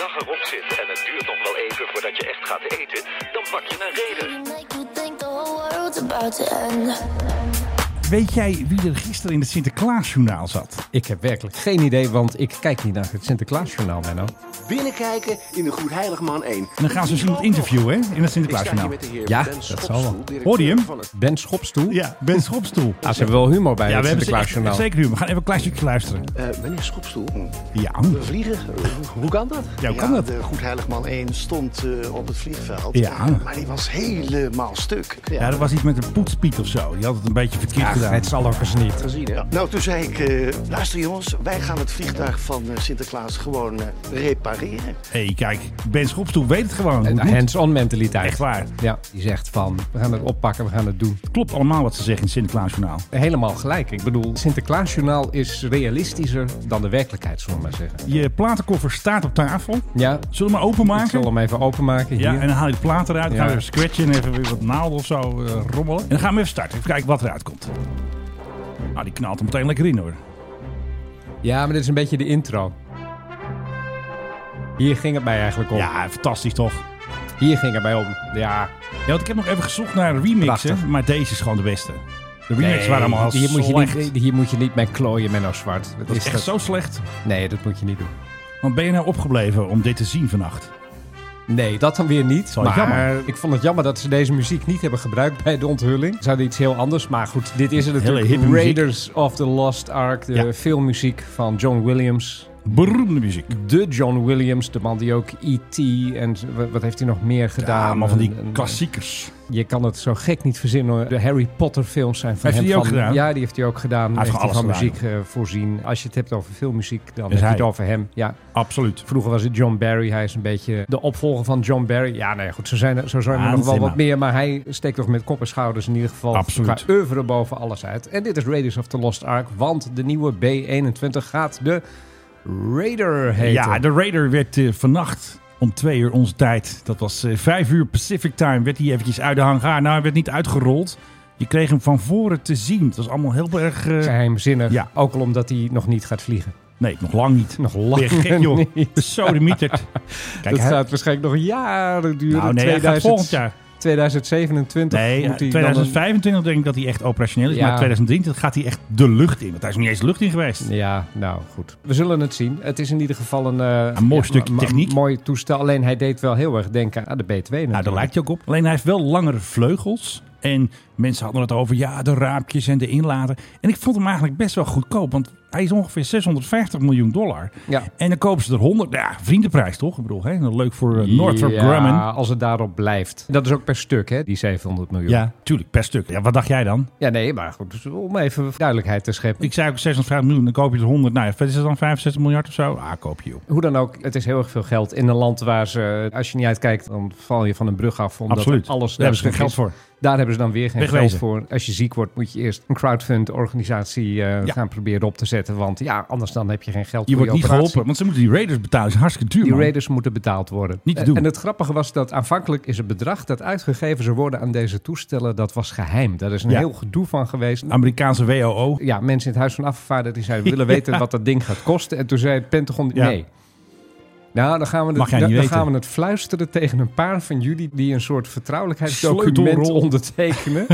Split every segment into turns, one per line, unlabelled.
dag erop zit en het duurt nog wel even voordat je echt gaat eten, dan pak je een reden.
Make you think the whole world's about to end.
Weet jij wie er gisteren in het Sinterklaasjournaal zat?
Ik heb werkelijk geen idee, want ik kijk niet naar het Sinterklaasjournaal, Menno.
Binnenkijken in de Goed Heiligman 1.
En dan gaan ze dus iemand interviewen hè, in
Ik
het
sta hier
Sinterklaasjournaal.
met de heer
Ja,
Ben
dat
Schopstoel,
zal wel.
directeur
Hoor je hem?
van het-
Ben Schopstoel?
Ja, Ben Schopstoel.
Ah, ze hebben wel humor bij
Ja,
het
we hebben ze-
Sinterklaasjournaal.
zeker nu. We gaan even een klein stukje luisteren.
Eh, meneer Schopstoel,
Ja,
we vliegen. Eh, Hoe kan dat?
ja hoe
Ja,
kan dat?
de Goedheiligman 1 stond eh, op het vliegveld.
Ja.
Eh, maar die was helemaal stuk.
Ja, er was iets met een poetspiet of zo. Die had het een beetje verkeerd
Ach,
gedaan.
het zal ook eens niet.
Gezien, hè?
Nou, toen zei ik, eh, luister jongens, wij gaan het vliegtuig van eh, Sinterklaas gewoon eh, repareren.
Hé, hey, kijk, Ben Schopstoel weet het gewoon. hoe het
Een
moet.
hands-on mentaliteit.
Echt waar.
Ja, die zegt van, we gaan het oppakken, we gaan het doen.
Klopt allemaal wat ze zeggen in het Sinterklaasjournaal.
Helemaal gelijk. Ik bedoel, het Sinterklaasjournaal is realistischer dan de werkelijkheid, zullen we maar zeggen.
Je platenkoffer staat op tafel.
Ja,
Zullen we hem
ik
openmaken?
zal hem even openmaken
Ja,
hier.
en dan haal je de plaat eruit. Dan gaan we
Ja.
even scratchen en even weer wat naalden of zo eh, rommelen. En dan gaan we even starten. Even kijken wat eruit komt. Nou, die knalt er meteen lekker in hoor.
Ja, maar dit is een beetje de intro. Hier ging het mij eigenlijk om.
Ja, fantastisch toch?
Hier ging het mij om. Ja,
Ja, want ik heb nog even gezocht naar remixen.
Prachtig.
Maar deze is gewoon de beste. De remixen
Nee,
waren allemaal
hier moet, je
slecht.
niet, hier moet je niet mee klooien, Menno Zwart.
dat is echt zo slecht.
Nee, dat moet je niet doen.
Want ben je nou opgebleven om dit te zien vannacht?
Nee, dat dan weer niet.
wel
Maar
jammer.
ik vond het jammer dat ze deze muziek niet hebben gebruikt bij de onthulling. Ze hadden iets heel anders. Maar goed, dit is het
Hele
natuurlijk.
hippe muziek.
Raiders of the Lost Ark. De
Ja.
filmmuziek van John Williams.
Beroemde muziek.
De John Williams, de man die ook E.T. en w- wat heeft hij nog meer gedaan?
Ja, maar van
En-
die
en-
klassiekers.
Je kan het zo gek niet verzinnen. hoor. De Harry Potter films zijn van
Heeft
hem.
hij die
van-
ook gedaan?
Ja, die heeft hij ook gedaan.
Hij heeft
heeft hij van
gewoon alles
muziek eh, voorzien. Als je het hebt over filmmuziek, dan
Is
heb je het
hij.
over hem. Ja.
Absoluut.
Vroeger was het John Barry. Hij is een beetje de opvolger van John Barry. Ja, nee, goed. Zo zijn er, zo zijn er
Hans
nog wel
Zimmer.
wat meer. Maar hij steekt toch met kop en schouders in ieder geval
Absoluut.
qua oeuvre boven alles uit. En dit is Raiders of the Lost Ark. Want de nieuwe B21 gaat de Raider heten.
Ja, de Raider werd eh, vannacht om twee uur onze tijd. Dat was eh, vijf uur Pacific Time. Werd hij eventjes uit de hangar. Nou, hij werd niet uitgerold. Je kreeg hem van voren te zien. Het was allemaal heel erg... eh,
Geheimzinnig.
Ja.
Ook al omdat hij nog niet gaat vliegen.
Nee, nog lang niet.
Nog
Ben je
lang
gek, joh.
niet.
Zo de mieterd. Kijk,
dat
hij-
gaat waarschijnlijk nog jaren duren.
nou, nee, hij gaat
2000
volgend jaar.
2027
Nee,
moet hij
2025 denk ik dat hij echt operationeel is.
Ja.
Maar 2023 gaat hij echt de lucht in. Want hij is nog niet eens de lucht in geweest.
Dan... Ja, nou goed. We zullen het zien. Het is in ieder geval een, eh,
Een mooi
ja,
stukje
ma- ma-
techniek.
mooi toestel. Alleen hij deed wel heel erg denken aan de B2 natuurlijk.
Nou, daar lijkt hij ook op. Alleen hij heeft wel langere vleugels. En mensen hadden het over, ja, de raapjes en de inlaten. En ik vond hem eigenlijk best wel goedkoop. Want hij is ongeveer 650 miljoen dollar.
Ja.
En dan kopen ze er 100. Nou Ja, vriendenprijs toch? Ik bedoel, hè? nou, leuk voor eh, Northrop
ja,
Grumman.
als het daarop blijft. Dat is ook per stuk, hè, die 700 miljoen.
Ja, tuurlijk, per stuk. Ja, wat dacht jij dan?
Ja, nee, maar goed. dus om even duidelijkheid te scheppen.
Ik zei ook 650 miljoen, dan koop je er 100. Nou ja, wat is het dan 65 miljard of zo? Ah, koop je op.
Hoe dan ook, het is heel erg veel geld in een land waar ze, als je niet uitkijkt, dan val je van een brug af. Omdat
Absoluut.
alles
Daar hebben ze geen
stuk
geld
is.
voor.
Daar hebben ze dan weer geen
Wegwezen.
geld voor. Als je ziek wordt, moet je eerst een crowdfund-organisatie eh,
Ja.
gaan proberen op te zetten. Want ja, anders dan heb je geen geld
Je
voor
wordt niet
operatie.
geholpen, want ze moeten die Raiders betalen. Dat is hartstikke duur,
Die
man.
raiders moeten betaald worden.
Niet te
Eh,
doen.
En het grappige was dat aanvankelijk is het bedrag dat uitgegeven zou worden aan deze toestellen, dat was geheim. Daar is een
Ja.
heel gedoe van geweest.
Amerikaanse WOO.
Ja, mensen in het Huis van Afgevaardigden die zeiden, we willen weten wat dat ding gaat kosten. En toen zei het Pentagon,
Ja.
nee. Nou, dan gaan, we
Mag
het,
jij
dan,
niet
dan
weten.
gaan we het fluisteren tegen een paar van jullie die een soort vertrouwelijkheidsdocument
Sleutelrol.
ondertekenen.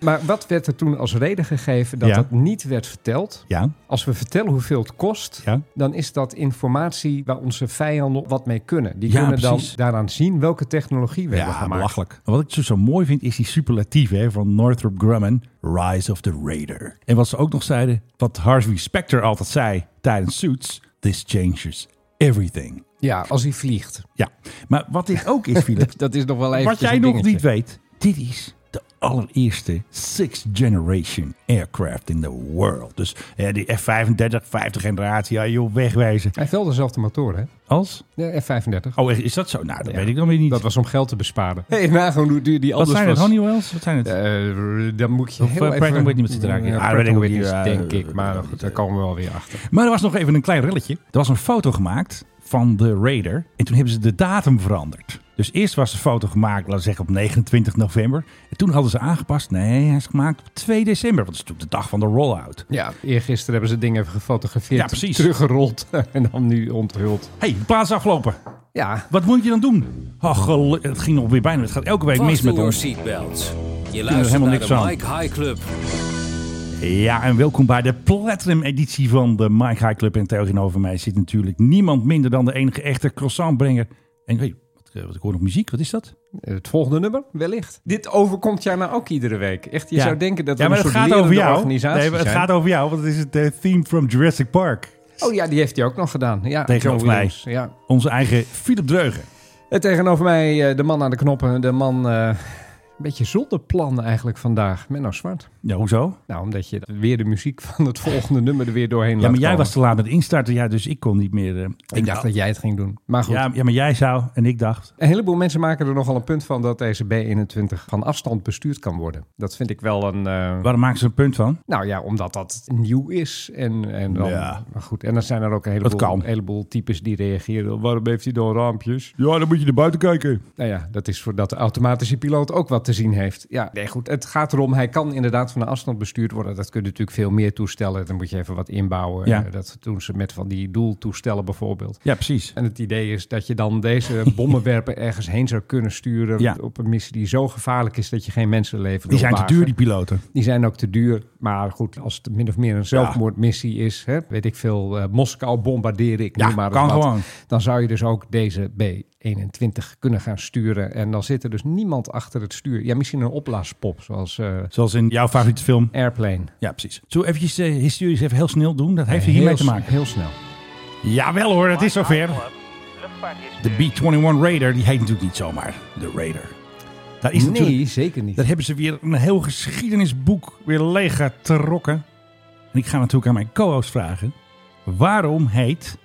maar wat werd er toen als reden gegeven dat
Ja.
dat niet werd verteld?
Ja,
Als we vertellen hoeveel het kost,
ja.
dan is dat informatie waar onze vijanden wat mee kunnen. Die
Ja,
kunnen dan
precies.
daaraan zien welke technologie we hebben
Ja,
gemaakt.
belachelijk. Wat ik zo, zo mooi vind is die superlatief hè, van Northrop Grumman. Rise of the Raider. En wat ze ook nog zeiden, wat Harvey Specter altijd zei tijdens Suits. This changes everything.
Ja, als hij vliegt.
Ja, maar wat dit ook is, Philip.
Dat is nog wel even
wat jij nog niet weet. Dit is de allereerste sixth generation aircraft in the world. Dus hè, die F-35, 50 generatie. Ja joh, wegwijzen.
Hij heeft wel dezelfde motor, hè?
Als?
De F-35.
Oh, is dat zo? Nou, dat
Ja.
weet ik dan weer niet.
Dat was om geld te besparen. Hé, hey, nagaan hoe duur die
wat
anders
zijn het?
was.
Honeywells? Wat zijn het?
Eh, dan moet je
Of, eh,
heel even...
Pratt Whitney met z'n draak.
Ja,
Ah,
Pratt
weet ik ook
Whitney,
niet. Ja,
denk
eh,
ik. Maar goed, daar komen we wel weer achter.
Maar er was nog even een klein relletje. Er was een foto gemaakt van de Raider. En toen hebben ze de datum veranderd. Dus eerst was de foto gemaakt, laten we zeggen, op 29 november. En toen hadden ze aangepast. Nee, hij is gemaakt op 2 december. Want dat is natuurlijk de dag van de rollout.
Ja, eergisteren hebben ze dingen gefotografeerd,
Ja, precies.
teruggerold en dan nu onthuld.
Hé, hey, plaats afgelopen.
Ja,
Wat moet je dan doen? Oh, gelu- het ging nog weer bijna. Het gaat elke week mis
Vast
met
door
ons.
seatbelts. Je
er
luistert
helemaal
naar
niks
de
aan.
Mike High Club.
Ja, en welkom bij de Platinum editie van de Mike High Club. En tegenover mij zit natuurlijk niemand minder dan de enige echte croissantbrenger. En hey, wat, eh, wat, ik hoor nog muziek, wat is dat?
het volgende nummer wellicht. Dit overkomt jou nou ook iedere week. Echt, je
Ja.
zou denken dat we
ja, maar
een
het
soort
gaat over
lerende
jou.
organisatie
Nee, maar het
zijn.
gaat over jou, want het is het eh, theme from Jurassic Park.
Oh ja, die heeft hij ook nog gedaan. Ja,
Tegenover
John
mij.
Williams, Ja.
Onze eigen Philip Dreugen.
En tegenover mij eh, de man aan de knoppen, de man... eh, een beetje zonder plan eigenlijk vandaag. Menno Zwart.
Ja, hoezo?
Nou, omdat je weer de muziek van het volgende nummer er weer doorheen
Ja,
laat
maar jij
komen.
was te laat met instarten, ja, dus ik kon niet meer. eh,
Ik dacht dat jij het ging doen. Maar goed.
ja, ja, maar jij zou en ik dacht.
Een heleboel mensen maken er nogal een punt van dat deze B21 van afstand bestuurd kan worden. Dat vind ik wel een. eh,
Waarom maken ze een punt van?
nou ja, omdat dat nieuw is. En, en dan,
Ja.
Maar goed, en dan zijn er ook een heleboel,
kan.
een heleboel types die reageren. Waarom heeft hij dan raampjes?
Ja, dan moet je naar buiten kijken.
Nou ja, dat is voordat de automatische piloot ook wat te zien heeft. Ja, nee, goed. Het gaat erom, hij kan inderdaad van een afstand bestuurd worden. Dat kunnen natuurlijk veel meer toestellen. Dan moet je even wat inbouwen.
Ja.
Eh, Dat doen ze met van die doeltoestellen bijvoorbeeld.
Ja, precies.
En het idee is dat je dan deze bommenwerper ergens heen zou kunnen sturen.
Ja.
op een missie die zo gevaarlijk is dat je geen mensenleven
Die zijn te
doorwagen.
duur, die piloten.
Die zijn ook te duur. Maar goed, als het min of meer een zelfmoordmissie is. Hè, weet ik veel, eh, Moskou bombarderen. Ik
Ja,
noem maar eens
kan
wat,
gewoon.
Dan zou je dus ook deze B-21 kunnen gaan sturen. En dan zit er dus niemand achter het stuur. Ja, misschien een opblaaspop zoals eh,
Zoals in jouw favoriete film.
Airplane.
Ja, precies. Zullen we eventjes eh, historisch even heel snel doen? Dat heeft er hiermee
Heel
te
s-
maken.
Heel snel.
Jawel hoor, het is zover. De B-21 Raider, die heet natuurlijk niet zomaar de Raider. Daar is natuurlijk...
Nee, zeker niet.
Daar hebben ze weer een heel geschiedenisboek weer leeg getrokken. En ik ga natuurlijk aan mijn co-host vragen... waarom heet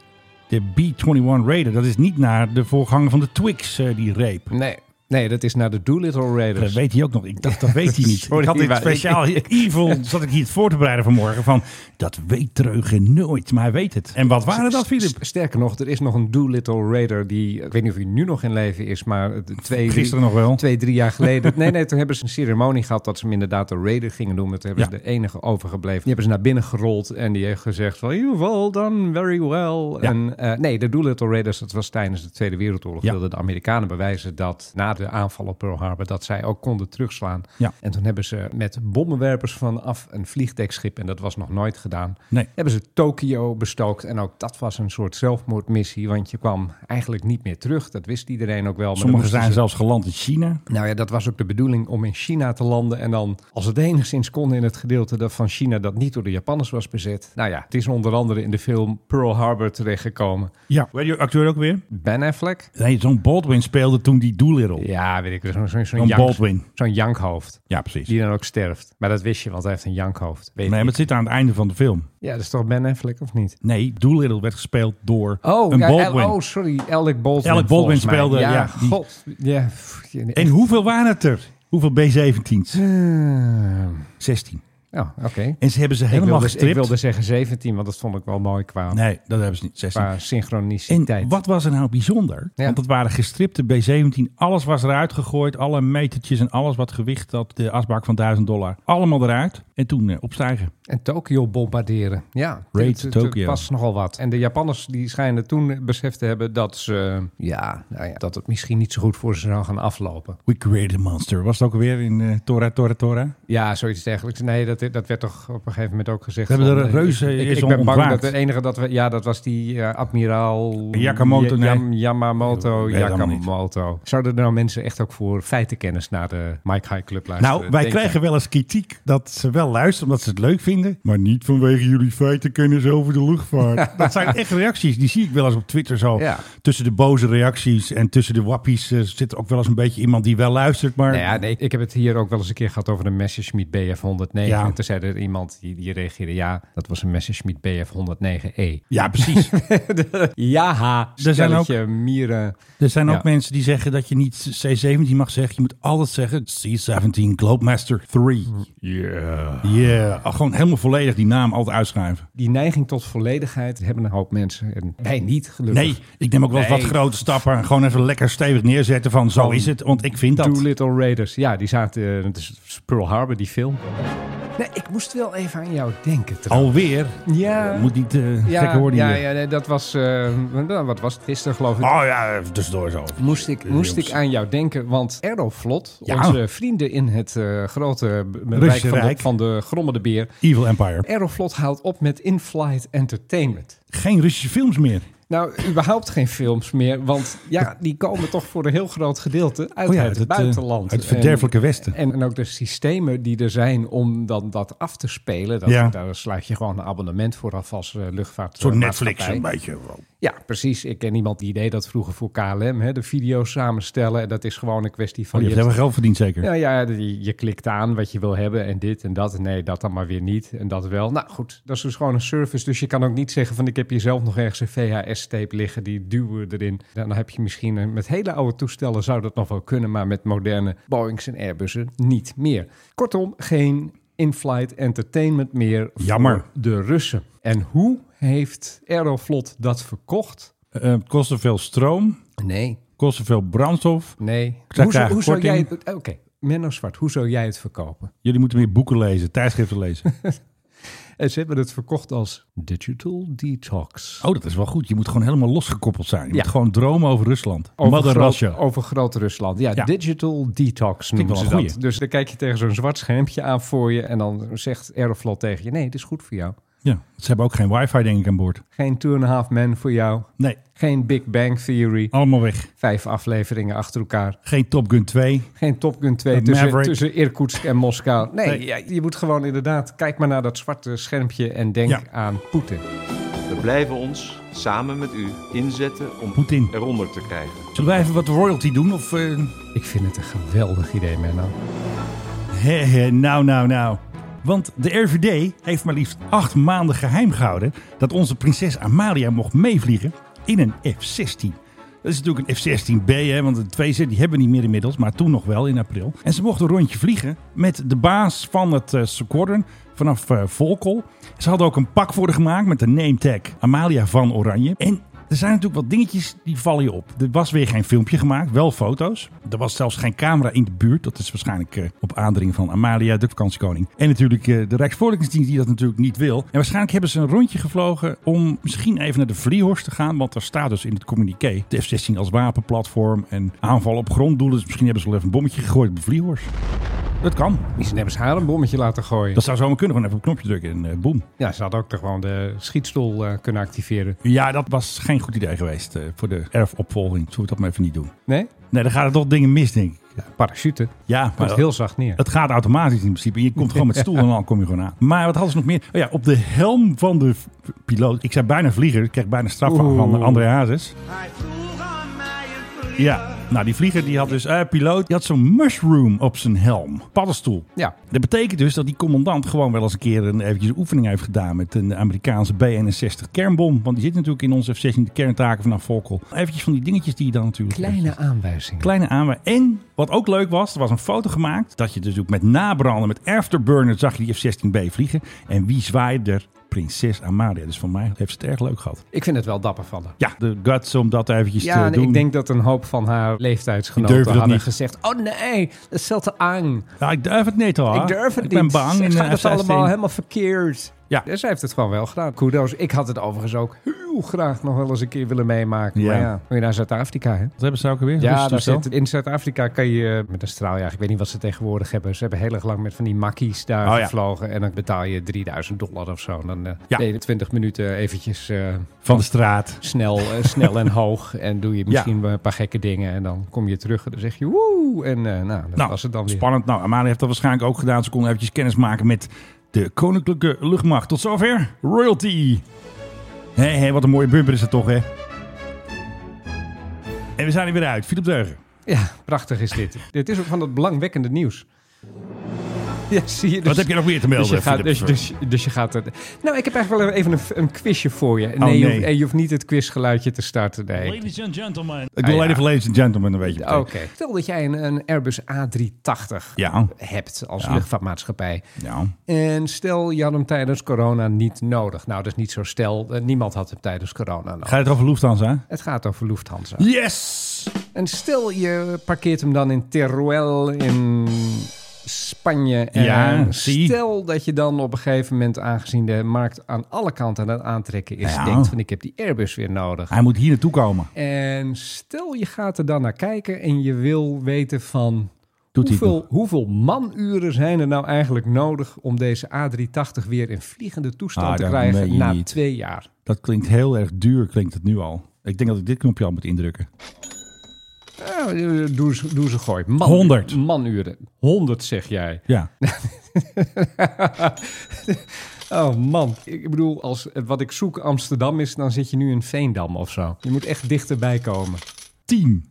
de B-21 Raider? Dat is niet naar de voorganger van de Twix, eh, die reep.
Nee, nee, dat is naar de Doolittle Raiders.
Dat weet hij ook nog. Ik dacht, dat weet hij niet.
Sorry,
Dus- ik had dit
maar-
speciaal hier- evil, zat ik hier het voor te bereiden vanmorgen. Van, dat weet Treugen nooit, maar hij weet het. En wat waren dat, Filip?
S- Sterker nog, er is nog een Doolittle Raider die, ik weet niet of hij nu nog in leven is, maar eh, de twee,
Gisteren
drie,
nog wel.
twee drie jaar geleden. nee, nee, toen hebben ze een ceremonie gehad dat ze hem inderdaad de Raider gingen doen. Maar toen hebben
Ja.
ze de enige overgebleven. Die hebben ze naar binnen gerold en die heeft gezegd van, you well done, very well.
Ja.
En, eh, nee, de Doolittle Raiders, dat was tijdens de Tweede Wereldoorlog,
Ja.
wilden de Amerikanen bewijzen dat na de aanval op Pearl Harbor, dat zij ook konden terugslaan.
Ja.
En toen hebben ze met bommenwerpers vanaf een vliegdekschip, en dat was nog nooit gedaan,
Nee.
hebben ze Tokio bestookt. En ook dat was een soort zelfmoordmissie, want je kwam eigenlijk niet meer terug. Dat wist iedereen ook wel. Maar
Sommigen
dan moesten
zijn
ze-
zelfs geland in China.
Nou ja, dat was ook de bedoeling om in China te landen. En dan, als het enigszins kon in het gedeelte dat van China dat niet door de Japanners was bezet. Nou ja, het is onder andere in de film Pearl Harbor terechtgekomen.
Ja. Weet je acteur ook weer?
Ben Affleck?
Nee, zo'n Baldwin speelde toen die Doolittle.
Ja, weet ik wel. Zo'n zo'n
Zo'n
jank-
Baldwin.
Zo'n jankhoofd.
Ja, precies.
Die dan ook sterft. Maar dat wist je, want hij heeft een jankhoofd. Weet
Nee, maar
ik.
het zit aan het einde van de film.
Ja, dat is toch Ben Affleck of niet?
Nee, Doolittle werd gespeeld door
Oh,
een
ja,
Baldwin.
El- oh, sorry, Alec Baldwin.
Alec Baldwin
volgens mij.
speelde,
Ja,
ja, die-
god. Ja, pff, ja,
En hoeveel waren het er? Hoeveel B-17's?
eh,
16.
oh, oké.
En ze hebben ze
Ik,
helemaal
wilde- ik
gestript.
wilde zeggen 17, want dat vond ik wel mooi qua,
Nee, dat hebben ze niet. 16.
qua synchroniciteit.
En wat was er nou bijzonder?
Ja.
Want het waren gestripte B-17. Alles was eruit gegooid. Alle metertjes en alles wat gewicht had. De asbak van 1000 dollar. Allemaal eruit. En toen eh, opstijgen.
En Tokio bombarderen. Ja,
Raid
Het- het- het
Tokio.
was nogal wat. En de Japanners die schijnen toen beseft te hebben dat ze... Ja, nou ja, dat het misschien niet zo goed voor ze zou gaan aflopen.
We created a monster. Was het ook weer in eh, Tora, Tora, Tora?
Ja, zoiets dergelijks. Nee, dat, dat werd toch op een gegeven moment ook gezegd.
We hebben
van,
er een
eh,
reuze
ik- ik-
is
Ik, ben bang
ontwaakt.
dat de enige dat we... Ja, dat was die eh, admiraal...
Yakamoto,
Ja-
nee.
Yamamoto,
Nee, helemaal niet.
Yakamoto. Zouden er nou mensen echt ook voor feitenkennis naar de Mike High Club luisteren?
Nou, wij
eh, Denk
krijgen wel eens kritiek dat ze wel luisteren omdat ze het leuk vinden. Maar niet vanwege jullie feitenkennis over de luchtvaart. dat zijn echt reacties. Die zie ik wel eens op Twitter zo.
Ja.
Tussen de boze reacties en tussen de wappies eh, zit ook wel eens een beetje iemand die wel luistert. Maar
Nou ja, nee, ik heb het hier ook wel eens een keer gehad over de Messerschmitt BF 109.
Ja. Ja.
Toen zei er iemand die, die reageerde, ja, dat was een Messerschmitt Bf 109E.
Ja, precies.
E. ja, ha,
Er zijn ook-
stelletje mieren.
er zijn ook
Ja.
mensen die zeggen dat je niet C17 mag zeggen. Je moet altijd zeggen C17 Globemaster 3.
Yeah.
Yeah. Gewoon helemaal volledig die naam altijd uitschrijven.
Die neiging tot volledigheid hebben een hoop mensen en wij niet, gelukkig.
Nee, ik neem ook wel eens
Nee.
wat grote stappen. en Gewoon even lekker stevig neerzetten van zo
Van
is het. Want ik vind dat.
Doolittle Raiders. Ja, die zaten... eh, Het is Pearl Harbor, die film. Nee, ik moest wel even aan jou denken trouwens.
Alweer.
ja.
Moet niet Oh, eh
ja,
gekker worden
ja,
hier.
ja, nee, dat was... eh, nou, wat was het? Gisteren geloof ik.
Oh ja, even tussendoor zo.
Moest ik, moest ik
Eh, jongens.
aan jou denken, want Aeroflot,
Ja.
onze vrienden in het eh, grote b- rijk van de,
Rijk.
van de Grommende Beer.
Evil Empire.
Aeroflot haalt op met in-flight entertainment.
Geen Russische films meer.
Nou, überhaupt geen films meer, want ja, die komen toch voor een heel groot gedeelte uit
Oh ja,
het,
uit het, eh,
buitenland.
uit het verderfelijke
En- eh,
Westen.
En, en ook de systemen die er zijn om dan dat af te spelen. Dat,
Ja.
Daar sluit je gewoon een abonnement voor af als eh, luchtvaart.
Een soort
eh,
Netflix
maatschappij.
een beetje. Oh,
Ja, precies. Ik ken iemand die deed dat vroeger voor KLM, hè, de video's samenstellen. En dat is gewoon een kwestie van...
Oh, je
je
hebt wel geld verdiend zeker.
ja, Nou ja je, je klikt aan wat je wil hebben en dit en dat. Nee, dat dan maar weer niet en dat wel. Nou goed, dat is dus gewoon een service. Dus je kan ook niet zeggen van ik heb hier zelf nog ergens een VHS-tape liggen. Die duwen we erin. Dan heb je misschien eh, met hele oude toestellen zou dat nog wel kunnen. Maar met moderne Boeings en Airbussen niet meer. Kortom, geen in-flight entertainment meer voor
Jammer.
de Russen. En hoe heeft Aeroflot dat verkocht?
Eh, het kostte veel stroom.
Nee.
Kostte veel brandstof.
Nee.
krijg
Hoe,
eigenlijk
hoe zou jij
korting.
het... Oké, Menno Zwart, hoe zou jij het verkopen?
Jullie moeten meer boeken lezen, tijdschriften lezen.
En ze hebben het verkocht als Digital Detox.
Oh, dat is wel goed. Je moet gewoon helemaal losgekoppeld zijn. Je
Ja.
moet gewoon dromen over oh. Rusland.
Over
Mother
groot,
Russia.
Over Groot-Rusland. Ja,
Ja.
Digital Detox noemen
wel
ze
een
dat.
goeie.
Dus dan kijk je tegen zo'n zwart schermpje aan voor je... en dan zegt Aeroflot tegen je... nee, dit is goed voor jou.
Ja, ze hebben ook geen wifi denk ik aan boord.
Geen Two and a Half Men voor jou.
Nee,
Geen Big Bang Theory.
allemaal weg.
Vijf afleveringen achter elkaar.
Geen Top Gun 2.
Geen Top Gun 2
Een
tussen,
Maverick.
tussen Irkutsk en Moskou. Nee,
Nee.
ja, je moet gewoon inderdaad... kijk maar naar dat zwarte schermpje en denk
Ja.
aan Poetin.
We blijven ons samen met u inzetten om
Poetin.
eronder te krijgen.
Zullen wij even wat royalty doen? Of eh,
Ik vind het een geweldig idee, Menno.
He, he, nou, nou, nou. Want de RVD heeft maar liefst acht maanden geheim gehouden dat onze prinses Amalia mocht meevliegen in een F-16. Dat is natuurlijk een F-16B, hè, want de twee die hebben we niet meer inmiddels, maar toen nog wel in april. En ze mocht een rondje vliegen met de baas van het eh squadron vanaf eh Volkel. Ze hadden ook een pak voor haar gemaakt met de name tag Amalia van Oranje. En er zijn natuurlijk wat dingetjes die vallen je op. Er was weer geen filmpje gemaakt, wel foto's. Er was zelfs geen camera in de buurt. Dat is waarschijnlijk eh, op aandring van Amalia, de vakantiekoning. En natuurlijk eh, de Rijksvoorlichtingsdienst die dat natuurlijk niet wil. En waarschijnlijk hebben ze een rondje gevlogen om misschien even naar de Vliehorst te gaan. Want daar staat dus in het communiqué de F-16 als wapenplatform en aanval op gronddoelen. Dus misschien hebben ze wel even een bommetje gegooid op de Vliehorst. Dat kan.
Misschien hebben ze haar een bommetje laten gooien.
Dat zou zomaar kunnen. Gewoon even op een knopje drukken en eh, boem.
Ja, ze hadden ook toch gewoon de schietstoel eh, kunnen activeren.
Ja, dat was geen goed idee geweest eh, voor de erfopvolging. Zullen we dat maar even niet doen.
Nee?
Nee, dan gaan er toch dingen mis, denk ik.
Parachute.
Ja,
Komt heel zacht neer.
Het gaat automatisch in principe. Je komt gewoon met stoel en dan kom je gewoon aan. Maar wat hadden ze nog meer? Oh ja, op de helm van de v- piloot. Ik zei bijna vlieger. Ik kreeg bijna straf van, van
Oeh.
André Hazes. Ja, nou die vlieger die had dus... eh, piloot, die had zo'n mushroom op zijn helm. Paddenstoel.
Ja.
Dat betekent dus dat die commandant gewoon wel eens een keer een eventjes een oefening heeft gedaan met een Amerikaanse B61 kernbom. Want die zit natuurlijk in onze F-16 de kerntaken vanaf Volkel. Eventjes van die dingetjes die je dan natuurlijk...
Kleine aanwijzingen.
Kleine aanwijzing. En wat ook leuk was, er was een foto gemaakt dat je dus ook met nabranden, met afterburner zag je die F-16B vliegen. En wie zwaaide er? Prinses Amalia. Dus van mij heeft ze het erg leuk gehad.
ik vind het wel dapper van haar.
Ja, de guts om dat eventjes
Ja,
te
en
doen.
ik denk dat een hoop van haar
Die
leeftijdsgenoten
durven dat
hadden
niet.
gezegd... Oh nee, dat stelt te aan.
Ja, Nou, ik durf het niet hoor.
ik durf het
ik
niet.
ben bang. eh,
Zeg,
in
gaat
de
het
F-16.
allemaal helemaal verkeerd.
Ja.
Dus zij heeft het gewoon wel gedaan. Kudos. Ik had het overigens ook heel graag nog wel eens een keer willen meemaken.
Ja.
Maar ja, moet je naar Zuid-Afrika, hè?
Wat hebben ze ook alweer?
Ja,
Rustig
Dus daar
toestel?
zit, in Zuid-Afrika kan je eh, met een straaljager, ik weet niet wat ze tegenwoordig hebben. Ze hebben heel erg lang met van die makkies daar
Oh ja.
gevlogen. En dan betaal je 3000 dollar of zo. En dan eh
Ja.
ben je 20 minuten eventjes eh,
Van de straat.
snel, eh, snel en hoog. En doe je misschien een paar gekke dingen. En dan kom je terug en dan zeg je woe. En eh, nou, dat
Nou,
was het dan weer.
Spannend. Nou, Amalia heeft dat waarschijnlijk ook gedaan. Ze kon eventjes kennis maken met de Koninklijke Luchtmacht. Tot zover. Royalty. Hé, hé, wat een mooie bumper is dat toch, hè? En we zijn er weer uit. Philip Deugen.
Ja, prachtig is dit. dit is ook van dat belangwekkende nieuws. Ja, zie je. Dus,
Wat heb je nog meer te melden?
dus je gaat,
Philip?
dus, dus, dus je gaat het. Nou, ik heb eigenlijk wel even een, een quizje voor je. Nee, Je,
Oh, nee. Oh,
hoeft, eh, je hoeft niet het quizgeluidje te starten. Nee.
Ladies and gentlemen.
ik wil
Ah, ja. Oh.
even ladies and gentlemen een beetje
Oké.
betekenen.
Stel dat jij een, een Airbus A380
Ja,
hebt als
Ja.
luchtvaartmaatschappij.
ja.
En stel, je had hem tijdens corona niet nodig. Nou, dat is niet zo stel. eh, Niemand had hem tijdens corona nodig.
Ga je het over Lufthansa?
Het gaat over Lufthansa.
Yes!
En stel, je parkeert hem dan in Teruel in Spanje. En
Ja, zie.
stel dat je dan op een gegeven moment, aangezien de markt aan alle kanten aan het aantrekken is,
Ja.
denkt van ik heb die Airbus weer nodig.
Hij moet hier naartoe komen.
En stel, je gaat er dan naar kijken en je wil weten van
Doet hij het
hoeveel, hoeveel manuren zijn er nou eigenlijk nodig om deze A380 weer in vliegende toestand
Ah,
te
dat meen
krijgen
je
na
niet.
twee jaar.
Dat klinkt heel erg duur, klinkt het nu al. Ik denk dat ik dit knopje al moet indrukken.
Nou, doe, ze- doe ze gooi. Man,
100.
Manuren. 100 zeg jij.
Ja.
Oh man, ik bedoel, als eh, wat ik zoek Amsterdam is, dan zit je nu in Veendam of zo. Je moet echt dichterbij komen.
10.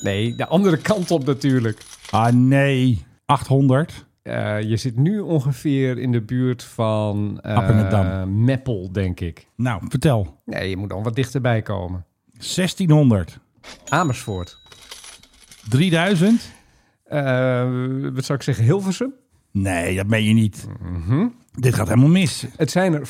Nee, de andere kant op natuurlijk.
Ah nee. 800.
Eh, je zit nu ongeveer in de buurt van eh,
Appingedam.
Meppel, denk ik.
Nou, vertel.
Nee, je moet dan wat dichterbij komen.
1600.
Amersfoort.
3000.
Eh, wat zou ik zeggen? Hilversum?
Nee, dat meen je niet. Dit gaat helemaal mis.
Het zijn er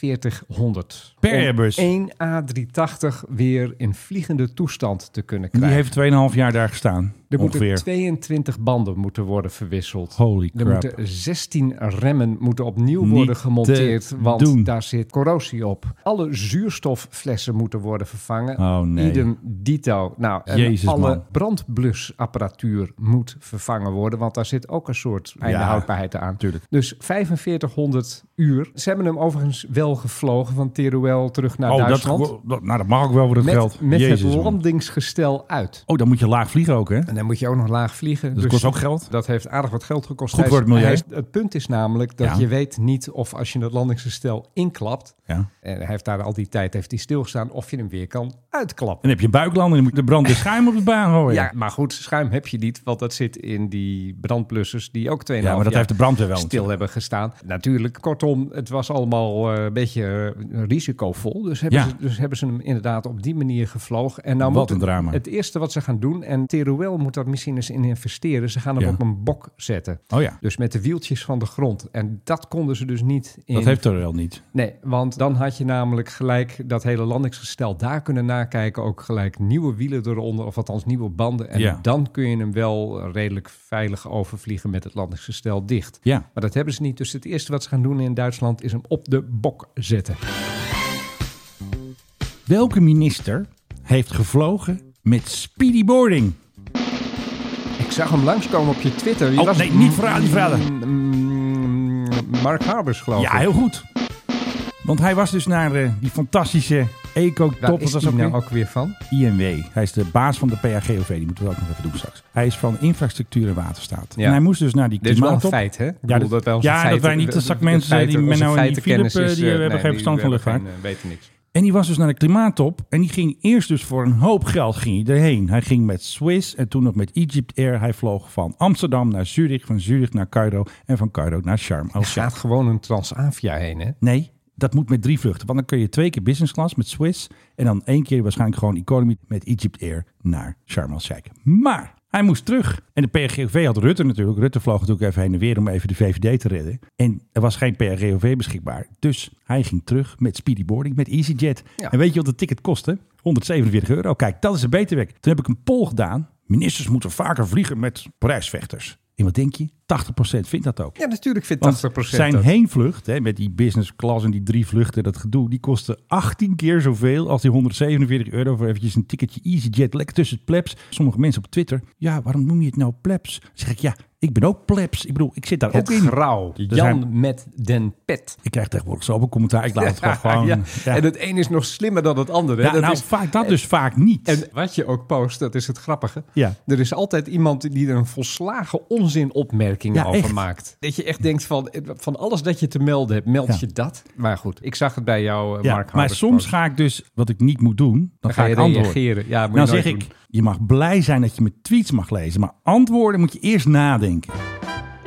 4500.
Per
Om
Airbus.
één A380 weer in vliegende toestand te kunnen
Die
krijgen.
heeft 2,5 jaar daar gestaan.
Er
ongeveer.
moeten 22 banden moeten worden verwisseld.
Holy
er
crap.
moeten 16 remmen moeten opnieuw
Niet
worden gemonteerd,
te
want
doen.
daar zit corrosie op. Alle zuurstofflessen moeten worden vervangen.
Oh, nee.
Idem dito. Nou, en
Jezus,
alle
man.
brandblusapparatuur moet vervangen worden, want daar zit ook een soort einde
Ja.
houdbaarheid aan. Dus 4500 uur. Ze hebben hem overigens wel gevlogen van Teruel terug naar
oh, dat,
Duitsland.
dat- nou, dat mag ook wel voor dat geld.
met met
Jezus,
het
man.
landingsgestel uit.
Oh, dan moet je laag vliegen ook, hè? Dat
En dan moet je ook nog laag vliegen. Dus
kost ook geld.
dat heeft aardig wat geld gekost.
Goed
Hij
voor
is-
het milieu.
hij is- het punt is namelijk dat
Ja.
je weet niet of als je het landingsgestel inklapt...
Ja. En
en hij heeft daar al die tijd heeft hij stilgestaan... of je hem weer kan uitklappen.
dan heb je een buiklanding en dan moet je de brand de schuim op de baan gooien.
Ja, maar goed, schuim heb je niet, want dat zit in die brandblussers die ook 2,5
Ja, maar dat
jaar
heeft de brandweer wel.
stil hebben gestaan. Natuurlijk, kortom, het was allemaal eh, een beetje eh, risicovol. Dus hebben,
Ja.
ze, dus hebben ze hem inderdaad op die manier gevlogen. En nou
Wat
moet
een
het-
drama.
Het eerste wat ze gaan doen, en Teruel moet daar misschien eens in investeren, ze gaan hem
Ja.
op een bok zetten.
Oh ja,
Dus met de wieltjes van de grond. En dat konden ze dus niet in.
dat heeft er wel niet.
Nee, want dan had je namelijk gelijk dat hele landingsgestel daar kunnen nakijken. Ook gelijk nieuwe wielen eronder, of althans nieuwe banden. En
Ja.
dan kun je hem wel redelijk veilig overvliegen met het landingsgestel dicht.
Ja.
Maar dat hebben ze niet. Dus het eerste wat ze gaan doen in Duitsland is hem op de bok zetten.
Welke minister heeft gevlogen met speedy boarding?
Ik zag hem langskomen op je Twitter. Wie
Oh,
was
nee,
het?
niet verraden, niet verraden.
Mm, mm, Mark Harbers, geloof ik.
Ja, heel goed. Want hij was dus naar eh, die fantastische
Waar
Eco-top.
is
wat was
die
ook
nou
weer?
ook weer van?
INW. Hij is de baas van de PAGOV. Die moeten we ook nog even doen straks. Hij is van infrastructuur en waterstaat.
Ja.
En hij moest dus naar die
Dit is wel een
klimaattop.
feit, hè? Ik
Ja,
bedoel,
dat-
wij onze
ja, dat
feiten-
wij niet een zak
de
mensen
feiten-
die
onze
Menno en die
feitenkennis
Philip, eh,
is,
die
eh,
hebben geen
die
verstand van
hebben
luchtvaart.
geen, eh, weten niks.
En die was dus naar de klimaattop. En die ging eerst dus voor een hoop geld ging hij erheen. Hij ging met Swiss en toen nog met Egypt Air. Hij vloog van Amsterdam naar Zurich, van Zurich naar Cairo en van Cairo naar Sharm el Sheikh.
Gaat gewoon een Transavia heen, hè?
Nee, dat moet met drie vluchten. Want dan kun je twee keer business class met Swiss. En dan één keer waarschijnlijk gewoon economy met Egypt Air naar Sharm el-Sheikh. Maar hij moest terug. En de PRGOV had Rutte natuurlijk. Rutte vloog natuurlijk even heen en weer om even de VVD te redden. En er was geen PRGOV beschikbaar. Dus hij ging terug met speedy boarding, met EasyJet.
Ja.
En weet je wat het ticket kostte? 147 euro. Kijk, dat is een beter werk. Toen heb ik een poll gedaan. Ministers moeten vaker vliegen met prijsvechters. En wat denk je? 80% vindt dat ook.
Ja, natuurlijk vindt 80%
Want zijn
dat.
heenvlucht, hè, met die business class en die drie vluchten, dat gedoe, die kostte 18 keer zoveel als die 147 euro voor eventjes een ticketje EasyJet. Lekker tussen het plebs. Sommige mensen op Twitter, ja, waarom noem je het nou plebs? Dan zeg ik, ja, ik ben ook plebs. Ik bedoel, ik zit daar
Het
ook in.
grauw.
Er
Jan
zijn-
met den pet.
Ik krijg tegenwoordig zoveel commentaar. Ik laat het gewoon. gewoon
Ja,
ja.
En het een is nog slimmer dan het andere. hè?
Ja,
dat
nou,
is,
vaak dat dus vaak niet.
en wat je ook post, dat is het grappige.
Ja.
Er is altijd iemand die er een volslagen onzinopmerking
Ja,
over
echt.
maakt. Dat je echt denkt van, eh, van alles dat je te melden hebt, meld
Ja.
je dat. Maar goed, ik zag het bij jou, eh,
ja,
Mark
maar
Harbers
soms
post.
ga ik dus, wat ik niet moet doen, dan,
Dan
ga,
ga je
ik antwoorden.
reageren. Ja, moet je
nou
nooit
zeg ik, je mag blij zijn dat je mijn tweets mag lezen, maar antwoorden moet je eerst nadenken.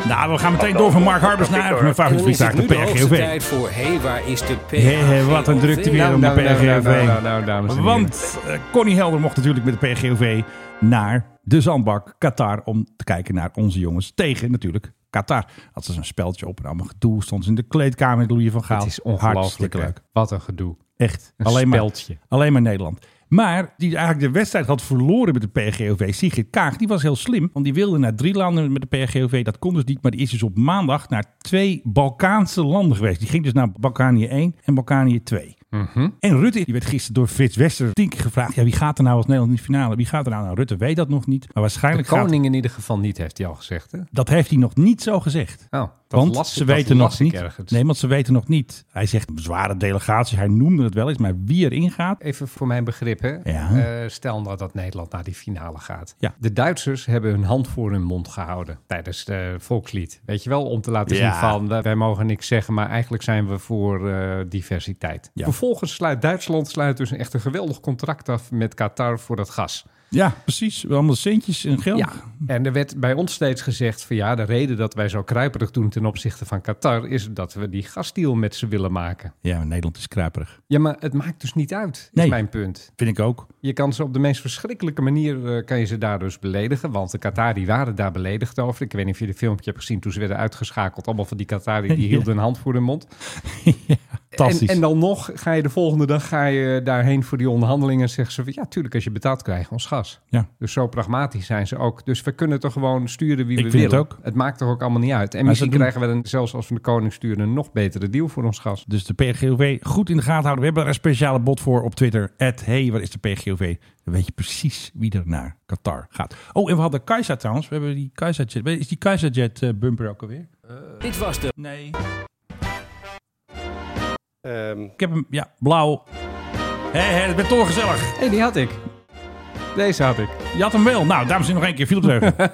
Nou, we gaan meteen door van Mark Harbers naar mijn
En
favoriete
dan is
vliegtuig,
het
de
nu de hoogste
PRGOV.
tijd voor... Hé, waar is de PRGOV?
Hé, hé, wat een drukte weer om de
Nou, nou, nou, nou, nou,
PRGOV.
nou, dames en heren.
Want eh, Connie Helder mocht natuurlijk met de PRGOV naar de zandbak Qatar om te kijken naar onze jongens tegen natuurlijk Qatar. Had ze zo'n speltje op en allemaal gedoe, stond ze in de kleedkamer met Louis van Gaal.
Het is ongelooflijk
Hartstikke leuk.
leuk. Wat een gedoe.
Echt.
Een
alleen, maar,
speltje.
alleen maar Nederland. Maar die eigenlijk de wedstrijd had verloren met de PRGOV. Sigrid Kaag, die was heel slim. Want die wilde naar drie landen met de PRGOV. Dat kon dus niet. Maar die is dus op maandag naar twee Balkaanse landen geweest. Die ging dus naar Balkanië 1 en Balkanië 2.
Mhm.
En Rutte, die werd gisteren door Frits Wester tien keer gevraagd. Ja, wie gaat er nou als Nederland in de finale? Wie gaat er nou? Nou, Rutte weet dat nog niet. Maar
De
waarschijnlijk gaat...
koning in ieder geval niet, heeft hij al gezegd. Hè?
Dat heeft hij nog niet zo gezegd.
Oh, dat
want
las ik-
ze
dat
weten
las
nog
ik
niet.
ergens.
Nee, want ze weten nog niet. Hij zegt een zware delegatie. Hij noemde het wel eens, maar wie erin gaat.
Even voor mijn begrip, hè?
Ja.
Eh, stel nou dat Nederland naar die finale gaat.
Ja.
De Duitsers hebben hun hand voor hun mond gehouden tijdens de volkslied. Weet je wel, om te laten zien
Ja.
van wij, wij mogen niks zeggen, maar eigenlijk zijn we voor eh, diversiteit.
Ja.
Vervolgens sluit Duitsland sluit dus echt een geweldig contract af met Qatar voor dat gas.
Ja, precies. Allemaal centjes en geld.
Ja, en er werd bij ons steeds gezegd van ja, de reden dat wij zo kruiperig doen ten opzichte van Qatar is dat we die gasdeal met ze willen maken.
Ja, maar Nederland is kruiperig.
Ja, maar het maakt dus niet uit, is
Nee.
mijn punt.
Vind ik ook.
Je kan ze op de meest verschrikkelijke manier eh, kan je ze daar dus beledigen. Want de Qatari waren daar beledigd over. Ik weet niet of je de filmpje hebt gezien toen ze werden uitgeschakeld. Allemaal van die Qatari die
Ja.
hielden hun hand voor hun mond.
Fantastisch.
En, en dan nog ga je de volgende dag ga je daarheen voor die onderhandelingen. En zeggen ze van ja, tuurlijk als je betaald krijgt ons gas.
Ja.
Dus zo pragmatisch zijn ze ook. Dus we kunnen toch gewoon sturen wie
Ik
we
vind het
willen.
ook.
maakt toch ook allemaal niet uit. En
ze
misschien
doen-
krijgen we dan zelfs als we de koning sturen een nog betere deal voor ons gas.
Dus de PGOV goed in de gaten houden. We hebben er een speciale bot voor op Twitter. Het hey, wat is de PGOV? Dan weet je precies wie er naar Qatar gaat. Oh, en we hadden Kaiser trouwens. We hebben die Kaiser Jet. Is die Kaiser Jet eh, bumper ook alweer?
Dit was de...
Nee.
Ehm.
Ik heb hem, ja, blauw. Hé, hé, het bent toch gezellig.
Hé, die had ik. Deze had ik.
Je had hem wel. Nou, dames en heren, nog één keer. Viel het leugen.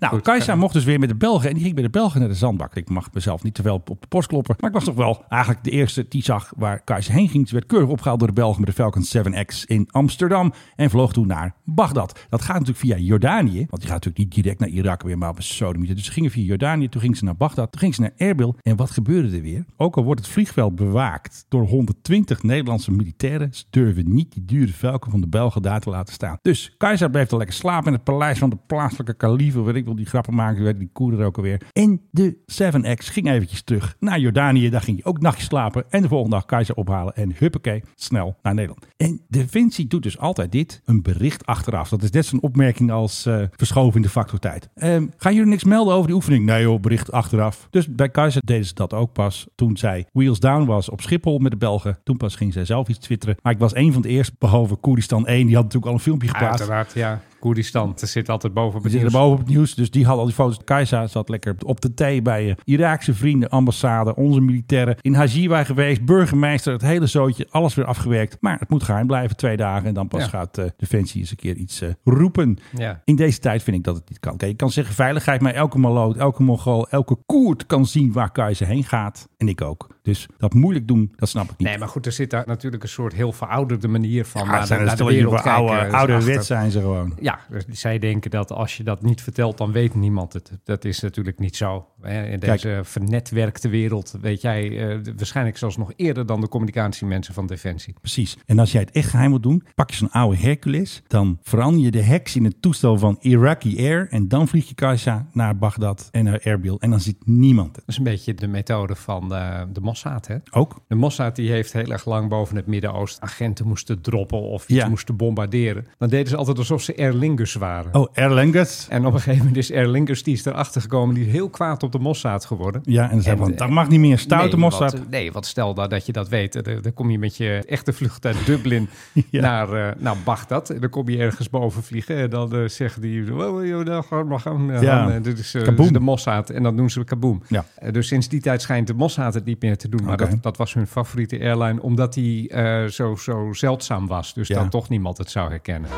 Nou,
Goed.
Kajsa mocht dus weer met de Belgen. En die ging bij de Belgen naar de zandbak. Ik mag mezelf niet te veel op de post kloppen. Maar ik was toch wel eigenlijk de eerste die zag waar Kajsa heen ging. Ze werd keurig opgehaald door de Belgen met de Falcon 7X in Amsterdam. En vloog toen naar Bagdad. Dat gaat natuurlijk via Jordanië. Want die gaat natuurlijk niet direct naar Irak weer, maar op een sodomiet. Dus ze gingen via Jordanië. Toen ging ze naar Bagdad. Toen ging ze naar Erbil. En wat gebeurde er weer? Ook al wordt het vliegveld bewaakt door 120 Nederlandse militairen. Ze durven niet die dure Falcon van de Belgen daar te laten staan. Dus Keizer bleef er lekker slapen in het paleis van de plaatselijke kalieven. Weet ik wel, die grappen maken, werden die koerder ook alweer. En de 7X ging eventjes terug naar Jordanië. Daar ging hij ook nachtjes slapen. En de volgende dag Keizer ophalen. En huppakee, snel naar Nederland. En De Vinci doet dus altijd dit. Een bericht achteraf. Dat is net zo'n opmerking als eh, verschoven in de factor tijd. Ehm, gaan jullie niks melden over die oefening? Nee joh, bericht achteraf. Dus bij Keizer deden ze dat ook pas toen zij Wheels Down was op Schiphol met de Belgen. Toen pas ging zij zelf iets twitteren. Maar ik was een van de eerst, behalve Koerdistan 1. Die had natuurlijk al een filmpje geplaatst.
Uiteraard, Ah, ja. Koerdistan, er zit altijd
We
boven
zitten
nieuws.
boven op het nieuws, dus die had al die foto's. Kajsa zat lekker op de thee bij eh, Iraakse vrienden, ambassade, onze militairen. In Hajiwa geweest, burgemeester, het hele zootje, alles weer afgewerkt. Maar het moet geheim blijven, twee dagen. En dan pas
Ja.
gaat eh, Defensie eens een keer iets eh, roepen.
Ja.
In deze tijd vind ik dat het niet kan. Kijk, je kan zeggen veiligheid, maar elke Maloot, elke Mongool, elke Koerd kan zien waar Kajsa heen gaat. En ik ook. Dus dat moeilijk doen, dat snap ik niet.
Nee, maar goed, er zit daar natuurlijk een soort heel verouderde manier van.
Ah,
naar, de-
zijn er
naar de
stel je
wereld
voor
kijken.
oude,
Dus
oude
achter-
wet zijn ze gewoon.
Ja, dus zij denken dat als je dat niet vertelt, dan weet niemand het. Dat is natuurlijk niet zo. hè. In
Kijk.
deze vernetwerkte wereld weet jij eh, d- waarschijnlijk zelfs nog eerder dan de communicatiemensen van Defensie.
Precies. En als jij het echt geheim wil doen, pak je zo'n oude Hercules. Dan verander je de heks in het toestel van Iraqi Air. En dan vlieg je Kajsa naar Bagdad en naar Erbil. En dan ziet niemand het.
Dat is een beetje de methode van eh, de Mossad, hè?
Ook?
De Mossad die heeft heel erg lang boven het Midden-Oosten agenten moesten droppen of iets
Ja.
moesten bombarderen. Dan deden ze altijd alsof ze Erlingus waren.
Oh, Erlengus.
En op een gegeven moment is Erlingus, die is erachter gekomen, die is heel kwaad op de Mossad geworden.
Ja, en ze van,
En- eh,
dat mag niet meer. Stoute
nee,
Mossad.
want, eh, nee, want stel nou dat je dat weet. eh, Dan, dan kom je met je echte vlucht uit Dublin
Ja.
naar, eh naar Bagdad. En Dan kom je ergens boven vliegen. En dan eh, zeggen die... "Wow, wow, joh, daar gaan we gaan, eh,
Ja.
gaan, eh, Dit is, eh,
Kaboom.
dit is de Mossad. En dan doen ze kaboom.
Ja.
Eh, dus sinds die tijd schijnt de Mossad het niet meer te doen. Maar
Oké.
dat, dat was hun favoriete airline. Omdat die eh, zo, zo zeldzaam was. Dus
Ja.
dan toch niemand het zou herkennen.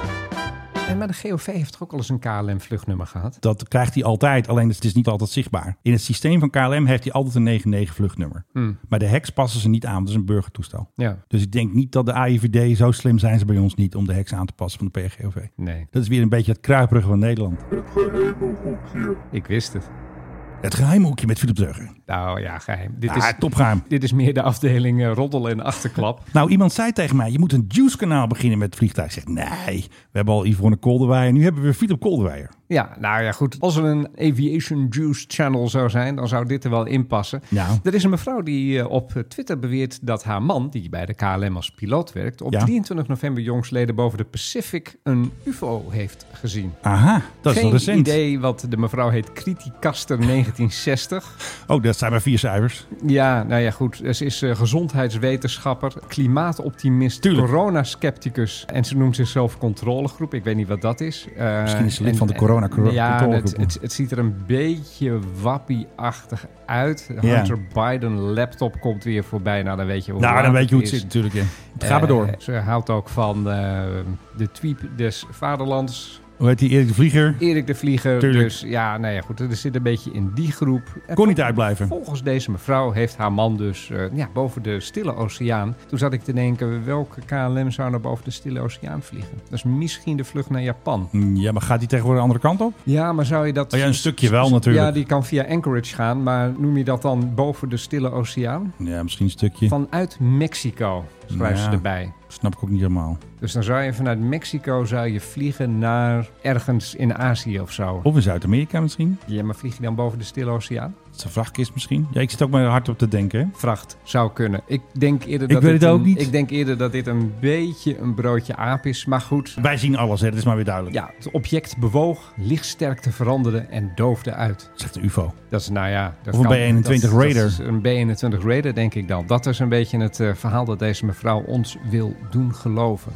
En maar de GOV heeft toch ook al eens een KLM-vluchtnummer gehad?
Dat krijgt hij altijd, alleen het is niet altijd zichtbaar. In het systeem van KLM heeft hij altijd een 9-9 vluchtnummer. Maar de heks passen ze niet aan, dat is een burgertoestel.
Hmm. Ja.
Dus ik denk niet dat de AIVD, zo slim zijn ze bij ons niet, om de heks aan te passen van de PGOV.
Nee,
Dat is weer een beetje het kruiperige van Nederland.
ik wist het.
Het geheime hoekje met Philip Dreuger.
Nou ja, geheim. Dit,
Ja,
is,
topgeheim.
dit is meer de afdeling eh, roddel en achterklap.
Nou, iemand zei tegen mij, je moet een Juice-kanaal beginnen met vliegtuig. Ik zeg, nee, we hebben al Yvonne Kolderweijer. Nu hebben we Philip Kolderweijer.
ja, nou ja, goed. Als er een Aviation Juice Channel zou zijn, dan zou dit er wel in passen.
Ja.
Er is een mevrouw die eh, op Twitter beweert dat haar man, die bij de KLM als piloot werkt, op
Ja.
23 november jongsleden boven de Pacific een UFO heeft gezien.
Aha, dat is
Geen
nog recent.
idee wat de mevrouw heet Criticaster 1960.
Oh, dat zijn maar vier cijfers.
Ja, nou ja, goed. Ze is eh, gezondheidswetenschapper, klimaatoptimist,
Tuurlijk.
coronascepticus. En ze noemt zichzelf controlegroep. Ik weet niet wat dat is. Eh,
Misschien is ze lid
en-
van de corona-
en- Ja, het,
controlegroep.
het, het ziet er een beetje wappie-achtig uit.
Ja.
Hunter Biden laptop komt weer voorbij. Nou, dan weet je hoe
nou,
laat
dan weet je hoe het
is.
zit natuurlijk. Ja. Ga maar
Eh,
door.
Ze houdt ook van eh, de tweep des vaderlands.
Hoe heet die Erik de Vlieger?
Erik de Vlieger.
Tuurlijk.
Dus ja, nou ja, goed. Er zit een beetje in die groep. En
Kon niet uitblijven.
Volgens deze mevrouw heeft haar man dus eh, ja, boven de Stille Oceaan. Toen zat ik te denken, welke KLM zou nou boven de Stille Oceaan vliegen? Dat is misschien de vlucht naar Japan.
Ja, maar gaat die tegenwoordig de andere kant op?
Ja, maar zou je dat...
Oh ja, een stukje wel natuurlijk.
Ja, die kan via Anchorage gaan, maar noem je dat dan boven de Stille Oceaan?
Ja, misschien een stukje.
Vanuit Mexico, schrijven ze
Ja.
erbij.
Snap ik ook niet helemaal.
Dus dan zou je vanuit Mexico zou je vliegen naar ergens in Azië of zo.
Of in Zuid-Amerika misschien.
Ja, maar vlieg je dan boven de Stille Oceaan?
Dat is een vrachtkist misschien. Ja, ik zit ook maar hard op te denken. hè.
vracht zou kunnen. Ik denk eerder
Ik
dat
weet
dit
het ook
een,
niet.
Ik denk eerder dat dit een beetje een broodje aap is, maar goed.
Wij zien alles, hè. dat is maar weer duidelijk.
Ja, het object bewoog, lichtsterkte veranderde en doofde uit.
Zegt de UFO.
Dat is nou ja... Dat
Of een
kan-
B-21
dat- dat
Raider.
is een B21 Raider denk ik dan. Dat is een beetje het eh, verhaal dat deze mevrouw ons wil doen geloven.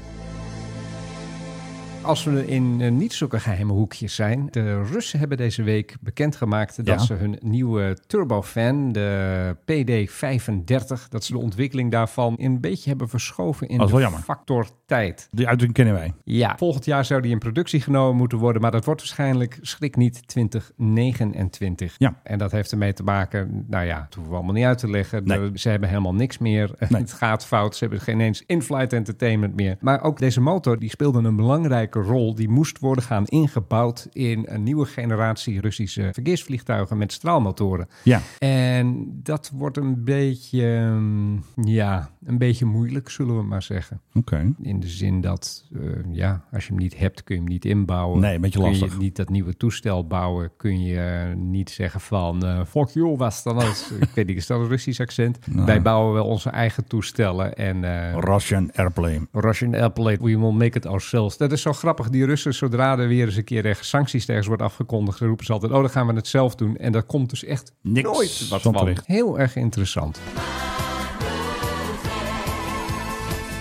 Als we in eh, niet zulke geheime hoekjes zijn. De Russen hebben deze week bekendgemaakt dat
Ja.
ze hun nieuwe turbofan, de PD35, dat ze de ontwikkeling daarvan een beetje hebben verschoven in
Dat is
de
wel jammer.
factor tijd.
Die uitdrukking kennen wij.
Ja. Volgend jaar zou die in productie genomen moeten worden, maar dat wordt waarschijnlijk, schrik niet, 2029.
Ja.
En dat heeft ermee te maken, nou ja, dat hoeven we allemaal niet uit te leggen.
Nee.
De- Ze hebben helemaal niks meer.
Nee.
Het gaat fout. Ze hebben geen eens in-flight entertainment meer. Maar ook deze motor, die speelde een belangrijke rol. Die moest worden gaan ingebouwd in een nieuwe generatie Russische verkeersvliegtuigen met straalmotoren.
Ja.
En dat wordt een beetje, ehm, ja, een beetje moeilijk, zullen we maar zeggen.
Oké.
In de zin dat, eh, ja, als je hem niet hebt, kun je hem niet inbouwen.
Nee, een beetje
Kun
lastig.
je niet dat nieuwe toestel bouwen. Kun je eh, niet zeggen van, eh fuck you, was dan als... nou?" ik weet niet, is dat een Russisch accent? Wij bouwen wel onze eigen toestellen en... eh,
Russian Airplane.
Russian Airplane, we will make it ourselves. Dat is zo grappig. Die Russen, zodra er weer eens een keer ergens sancties ergens wordt afgekondigd, dan roepen ze altijd, oh, dan gaan we het zelf doen. En daar komt dus echt
Niks
nooit wat
van
van.
terecht.
Heel erg interessant.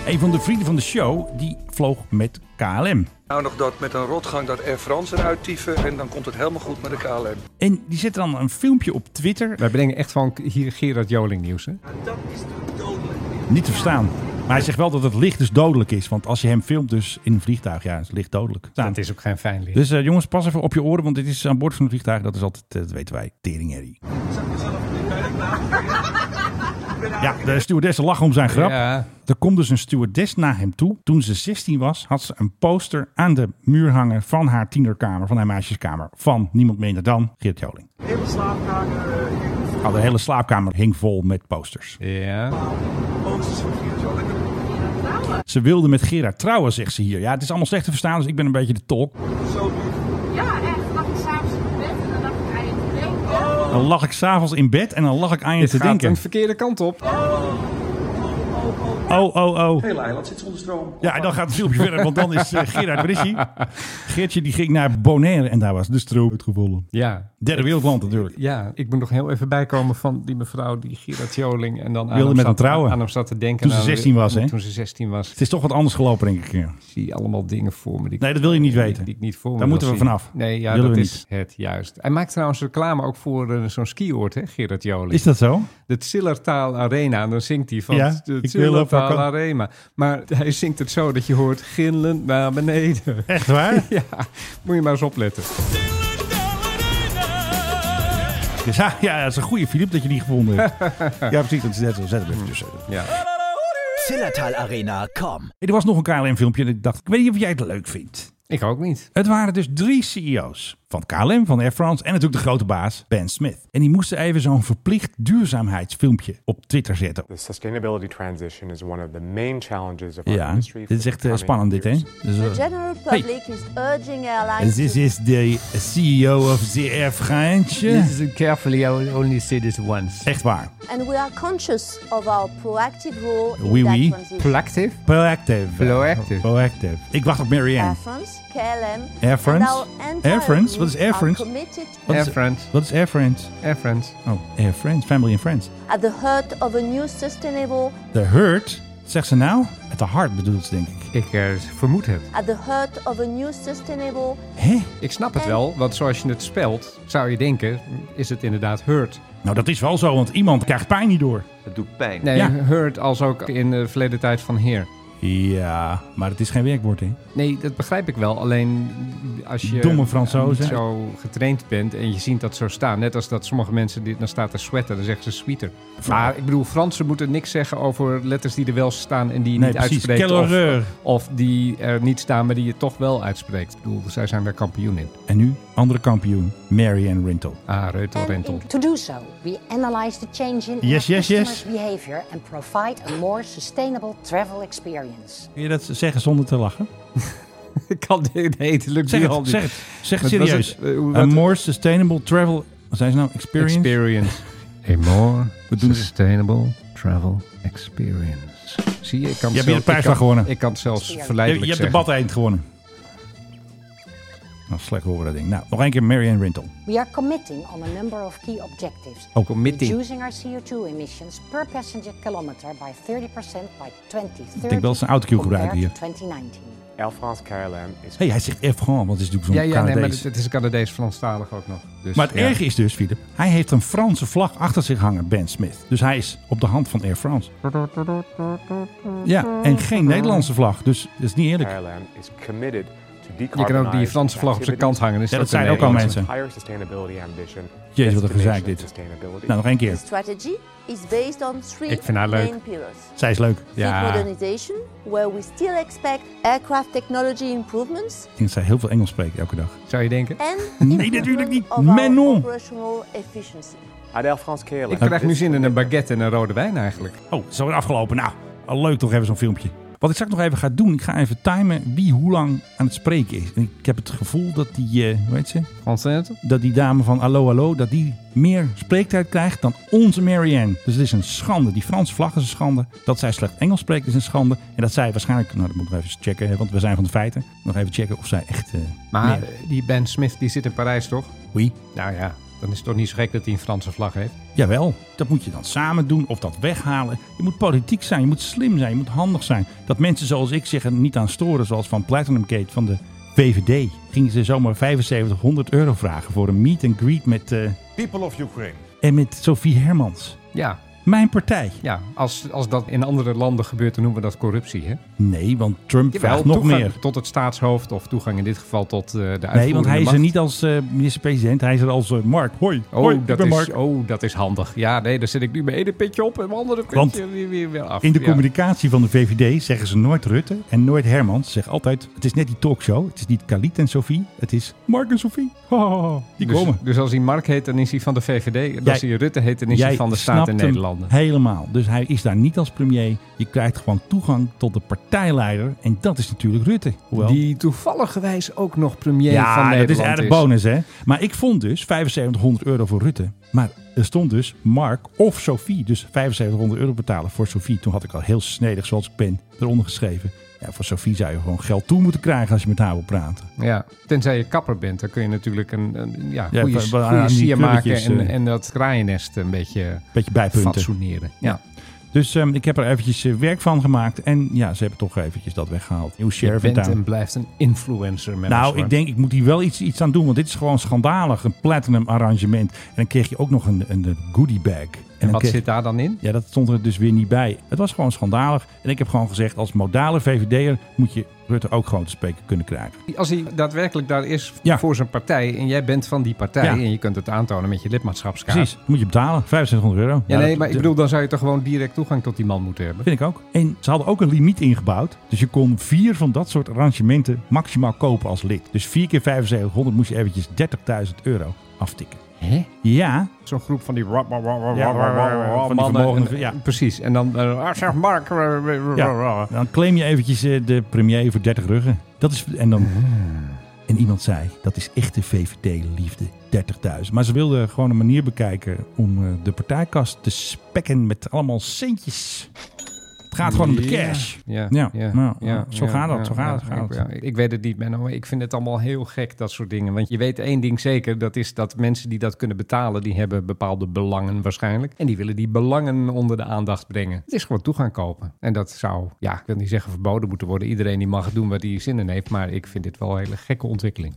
Een van de vrienden van de show, die vloog met KLM.
Nou nog dat met een rotgang dat Air France eruit tyfen en dan komt het helemaal goed met de KLM.
En die zette dan een filmpje op Twitter.
Wij brengen echt van hier Gerard Joling nieuws, hè?
Nou. Niet te verstaan. Maar hij zegt wel dat het licht dus dodelijk is. Want als je hem filmt dus in een vliegtuig, ja, is het licht dodelijk.
Dat is ook geen fijn licht.
Dus eh, jongens, pas even op je oren, want dit is aan boord van een vliegtuig. Dat is altijd, eh, dat weten wij, teringherrie. Ja, de stewardess lag om zijn grap.
Ja.
Er komt dus een stewardess naar hem toe. Toen ze 16 was, had ze een poster aan de muur hangen van haar tienerkamer, van haar meisjeskamer, van niemand minder dan Geert Joling. Nou, de hele slaapkamer hing vol met posters.
Ja.
Ze wilde met Gerard trouwen, zegt ze hier. Ja, het is allemaal slecht te verstaan, dus ik ben een beetje de tolk.
Ja, echt. Lag ik s'avonds in bed en dan dacht ik aan je te denken.
Dan lag ik s'avonds in bed en dan lag ik aan je
Het
te
gaat
denken.
een verkeerde kant op.
Oh, oh, oh.
Het hele eiland zit zonder stroom.
Ja, en dan gaat het filmpje verder, want dan is eh, Gerard, waar is hij? Geertje die ging naar Bonaire en daar was de stroom uitgevallen.
Ja.
Derde wereldland natuurlijk.
Ja, ik moet nog heel even bijkomen van die mevrouw, die Gerard Joling. En dan aan
Wilde met
zat,
hem trouwen.
Aan hem zat te denken.
Toen ze
aan-
16 was, hè?
Toen ze 16 was.
Het is toch wat anders gelopen, denk ik. ja.
Ik zie allemaal dingen voor me. Die ik-
Nee, dat wil je niet
Die,
weten.
ik niet voor me
Daar
wil
moeten we
zien.
vanaf.
Nee, ja,
Willen
dat
we
is het juist. Hij maakt trouwens reclame ook voor eh, zo'n skioord, hè, Gerard Joling.
Is dat zo?
De Zillertaal Arena. En dan zingt hij van
Ja,
de
ik wil op
Zillertaal
vakantie.
Arena. Maar hij zingt het zo dat je hoort gillend naar beneden.
Echt waar?
ja, moet je maar eens opletten.
Dus, ja, ja, dat is een goede Filip dat je die gevonden hebt. ja, precies. Dat is net zo. Zet hem even tussen.
Ja.
Hey, er was nog een KLM-filmpje en ik dacht, ik weet niet of jij het leuk vindt.
Ik ook niet.
Het waren dus drie CEO's. Van KLM, van Air France en natuurlijk de grote baas Ben Smith. En die moesten even zo'n verplicht duurzaamheidsfilmpje op Twitter zetten.
The sustainability transition is one of the main challenges of our
Ja,
industry.
dit is echt eh, spannend dit, hè? Dus, eh,
general public is urging airlines
This is the CEO of the Air France.
This is carefully, I will only say this once.
Echt waar.
and we are conscious of our proactive role in
Oui,
that
oui.
transition.
Proactive? Proactive. Proactive. Proactive. Ik wacht op Marianne.
Air France, KLM,
Air France?
and our entire
Air France? Wat is Air
group are
France?
committed
Wat is- Wat is Air France? Air France. Oh, Air France. Family and Friends.
at the heart of a new sustainable,
The Hurt. Zegt ze nou? Het hart bedoelt ze, denk ik. Ik
eh,
vermoed het.
at the heart of a new sustainable
Ik snap het wel, want zoals je het spelt, zou je denken, is het inderdaad hurt.
Nou, dat is wel zo, want iemand krijgt pijn niet door.
Het doet pijn. Nee,
Ja.
hurt als ook in de verleden tijd van heer.
Ja, maar het is geen werkwoord, hè?
Nee, dat begrijp ik wel. Alleen als je
Domme Fransozen.
niet zo getraind bent en je ziet dat zo staan. Net als dat sommige mensen, dit, dan staat er sweater, dan zeggen ze sweater. Maar ik bedoel, Fransen moeten niks zeggen over letters die er wel staan en die je
Nee,
niet
precies.
uitspreekt.
Caloreur.
Of, of die er niet staan, maar die je toch wel uitspreekt. Ik bedoel, zij zijn daar kampioen in.
En nu, andere kampioen, Marianne Rintel.
Ah, Reutel
Ehm,
Rentel.
To do so, we analyze the change in
Yes,
our
yes,
customers'
yes.
behavior and provide a more sustainable travel experience.
Kun je dat zeggen zonder te lachen?
Ik kan dit hetelijk
zeg
nu
het,
al niet.
Zeg het, zeg het
Wat was
serieus.
het? Eh, hoe-
A
wat-
more sustainable travel... Wat zijn ze nou? Experience?
Experience. A more sustainable travel experience. Zie je, ik kan
Je
het
hebt hier de
zelf-
prijs van
ik kan-
gewonnen.
Ik kan het zelfs
Je,
verleidelijk
je hebt de
zeggen.
bad eind gewonnen. Nou, slecht horen we dat ding. Nou, nog één keer Marianne Rintel.
We are committing on a number of key objectives.
Ook een
Reducing our CO2 emissions per passenger kilometer by 30% by 2030.
Ik denk wel dat ze een autocue
compared
gebruiken
to 2019.
Air France KLM is
hey, hij zegt Air France, want het is natuurlijk zo'n
Ja, ja nee, maar
Canadees.
het, het is een Canadees Franstalig ook nog. Dus,
maar het
ja.
erge is dus, Philip, hij heeft een Franse vlag achter zich hangen, Ben Smith. Dus hij is op de hand van Air France. Ja, en geen Nederlandse vlag, dus dat is niet eerlijk.
KLM is committed to decarbonize.
Je kan ook die Franse vlag op zijn kant hangen, dus Ja, dat dat zijn ook al mensen.
Higher sustainability ambition.
Jezus, wat een
Destination
gezeik dit.
sustainability.
Nou, nog één keer.
strategy is based on three
Ik vind haar leuk.
main pillars.
Zij is leuk.
Modernization, where we still expect aircraft technology improvements
Ik denk dat zij heel veel Engels spreekt elke dag.
Zou je denken?
and
Nee, natuurlijk niet.
of our
Menon.
operational efficiency.
Air France KLM.
Ik krijg nu zin in een baguette en een rode wijn eigenlijk.
Oh, zo weer afgelopen. Nou, al leuk toch even zo'n filmpje. Wat ik straks nog even ga doen, ik ga even timen wie hoe lang aan het spreken is. En ik heb het gevoel dat die, eh hoe heet ze? Dat die dame van Allo Allo, dat die meer spreektijd krijgt dan onze Marianne. Dus het is een schande. Die Franse vlag is een schande. Dat zij slecht Engels spreekt is een schande. En dat zij waarschijnlijk, nou dat moeten we even checken, hè, want we zijn van de feiten. Nog even checken of zij echt... eh,
Maar
meer-
eh, die Ben Smith die zit in Parijs toch?
Oui.
Nou ja, dan is het toch niet zo gek dat hij een Franse vlag heeft.
Jawel, dat moet je dan samen doen of dat weghalen. Je moet politiek zijn, je moet slim zijn, je moet handig zijn. Dat mensen zoals ik zich er niet aan storen, zoals van Platinumgate van de VVD. Gingen ze zomaar 7500 euro vragen voor een meet and greet met, eh,
People of Ukraine.
en met Sophie Hermans.
Ja.
Mijn partij.
Ja, als, als dat in andere landen gebeurt, dan noemen we dat corruptie, hè?
Nee, want Trump
Jawel,
vraagt nog
toegang
meer.
Tot het staatshoofd, of toegang in dit geval tot eh, de uitvoerende
Nee, want hij is
macht.
er niet als eh, minister-president, hij is er als eh, Mark. Hoi,
Oh,
hoi, ik
dat
ben
is,
Mark.
oh, dat is handig. Ja, nee, daar zit ik nu mijn ene pitje op en mijn andere pitje
Want
weer, weer, weer af.
In de
Ja.
communicatie van de VVD zeggen ze nooit Rutte en nooit Hermans. Ze zeggen altijd, het is net die talkshow. Het is niet Khalid en Sophie. Het is Mark en Sophie. Ho, ho, ho. Die
dus,
komen.
Dus als hij Mark heet, dan is hij van de VVD. En als
Jij-
hij Rutte heet, dan is hij
Jij
van de
snapt
Staat in
hem
Nederland.
Helemaal. Dus hij is daar niet als premier. Je krijgt gewoon toegang tot de partijleider. En dat is natuurlijk Rutte. Hoewel,
Die toevalligerwijs ook nog premier
ja,
van Nederland
dat is eigenlijk bonus, hè? Maar ik vond dus 7500 euro voor Rutte. Maar er stond dus Mark of Sophie. Dus 7500 euro betalen voor Sophie. Toen had ik al heel snedig, zoals ik ben, eronder geschreven. Ja, voor Sophie zou je gewoon geld toe moeten krijgen als je met haar wil praten.
Ja, tenzij je kapper bent, dan kun je natuurlijk een, een ja,
Ja,
goede,
van- van-
goede
aan die
sier maken
krulletjes,
en,
eh.
en dat kraaiennest een beetje,
Beetje bijpunten.
fatsoeneren. Ja.
Dus ehm, ik heb er eventjes eh, werk van gemaakt. En ja, ze hebben toch eventjes dat weggehaald. Nieuw
Je
sheriff in
bent
town.
en blijft een influencer. met ons,
Nou,
hoor.
ik denk, ik moet hier wel iets, iets aan doen. Want dit is gewoon schandalig. Een platinum arrangement. En dan kreeg je ook nog een, een goodie bag.
En,
dan
wat
kreeg-
zit daar dan in?
Ja, dat stond er dus weer niet bij. Het was gewoon schandalig. En ik heb gewoon gezegd, als modale VVD'er moet je Rutte ook gewoon te spreken kunnen krijgen.
Als hij daadwerkelijk daar is voor zijn partij en jij bent van die partij
Ja.
en je kunt het aantonen met je lidmaatschapskaart.
Precies, moet je betalen. 2500 euro.
Ja,
Nou,
nee,
dat-
maar ik bedoel, dan zou je toch gewoon direct toegang tot die man moeten hebben.
Vind ik ook. En ze hadden ook een limiet ingebouwd. Dus je kon vier van dat soort arrangementen maximaal kopen als lid. Dus vier keer 7500 moest je eventjes 30.000 euro aftikken.
Hè?
Ja.
Zo'n groep van die...
Ja, van die vermogende- ja.
Precies. En dan... eh, ah, zeg Mark...
Ja, dan claim je eventjes eh, de premier voor 30 ruggen. Dat is, en, dan,
Hmm.
en iemand zei, dat is echte VVD-liefde, 30.000. Maar ze wilden gewoon een manier bekijken om eh, de partijkast te spekken met allemaal centjes. Het gaat gewoon om de
Ja.
cash.
Ja,
ja, nou,
ja,
zo
ja,
gaat dat,
ja,
zo
ja,
gaat het, gaat
ik-
het.
ja, Ik, ik weet het niet, Menno. maar Ik vind het allemaal heel gek, dat soort dingen. Want je weet één ding zeker, dat is dat mensen die dat kunnen betalen... die hebben bepaalde belangen waarschijnlijk. En die willen die belangen onder de aandacht brengen. Het is gewoon toegang kopen. En dat zou, ja, ik wil niet zeggen verboden moeten worden. Iedereen die mag doen wat hij zin in heeft. Maar ik vind dit wel een hele gekke ontwikkeling.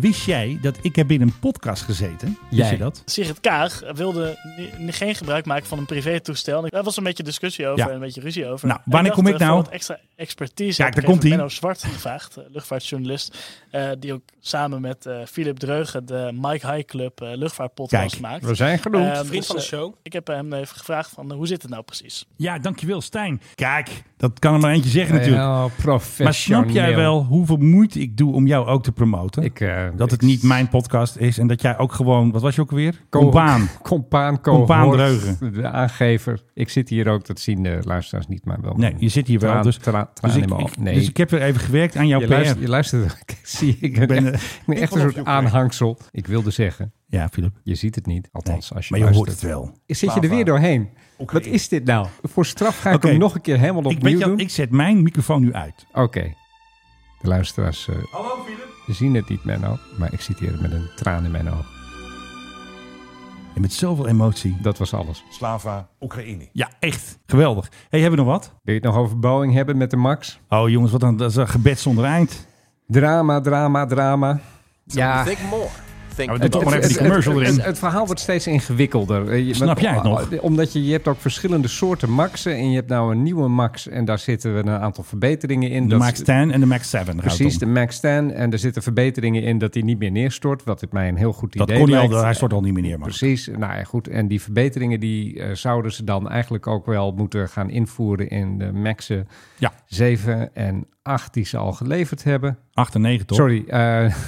Wist jij dat ik heb in een podcast gezeten? Wist
Jij.
je dat?
Sigrid Kaag wilde ni- ni- geen gebruik maken van een privétoestel. Daar was een beetje discussie over
Ja.
en een beetje ruzie over.
Nou,
En
wanneer
dacht,
kom ik
eh, voor
nou?
wat extra expertise
Kijk,
heb ik
daar
even
komt-ie.
Menno Zwart gevraagd, eh, luchtvaartjournalist. eh, die ook samen met eh, Philip Dreugen de Mike High Club eh, luchtvaartpodcast
Kijk,
maakt.
we zijn genoemd.
Eh,
Vriend van de
eh, Ik heb hem even gevraagd van eh, hoe zit het nou precies?
Ja, dankjewel Stijn. Kijk, dat kan er maar eentje zeggen natuurlijk.
Ja, professioneel.
Maar snap jij wel hoeveel moeite ik doe om jou ook te promoten?
Ik, eh,
dat het niet mijn podcast is en dat jij ook gewoon... Wat was je ook weer?
Co-
Compaan.
Compaan,
Compaan
cohort,
Dreugen.
De aangever. Ik zit hier ook, dat zien de luisteraars niet, maar wel.
Nee, je zit hier wel.
Traan-
dus,
traan-
dus,
tranen in
ik,
mijn
ik-
ogen. Nee.
dus ik heb weer even gewerkt aan jouw
je
PR.
luistert, je luistert, Kijk, zie ik. Ik ben,
ben, eh,
echt, een
ik vond
soort
het ook
aanhangsel. Ik wilde zeggen.
Ja, Philip.
Je ziet het niet, althans als je
maar je hoort
luistert.
het wel.
Zit je er weer doorheen? Wat is dit nou? Voor straf ga ik
Oké.
hem nog een keer helemaal
Ik, weet
opnieuw
je wat,
doen.
ik zet mijn microfoon nu uit.
Oké. De luisteraars eh, zien het niet, Menno. Maar ik zit hier met een traan in mijn oog.
En met zoveel emotie.
Dat was alles.
Slava Oekraïne.
Ja, echt. Geweldig. hey, hebben we nog wat?
Wil je het nog over Boeing hebben met de Max?
Oh jongens, wat een, dat is een gebed zonder eind.
Drama, drama, drama. Ja.
Think more. Think
Nou, we doen toch maar even die
het-
commercial
het-
erin.
Het, het verhaal wordt steeds ingewikkelder. Eh, je-
Snap
want-
jij het nog?
Omdat je, je hebt ook verschillende soorten maxen. En je hebt nou een nieuwe max. En daar zitten we een aantal verbeteringen in.
De
Dat-
Max 10 en de Max 7. daar gaat het
Precies,
om.
de Max 10. En er zitten verbeteringen in dat hij niet meer neerstort. Wat het mij een heel goed
Dat
idee
kon hij al,
lijkt.
hij stort al niet meer neer, maar.
Precies, nou ja, goed. En die verbeteringen die eh, zouden ze dan eigenlijk ook wel moeten gaan invoeren in de Maxen
Ja.
7 en 8 die ze al geleverd hebben.
8 en 9 toch?
Sorry, eh,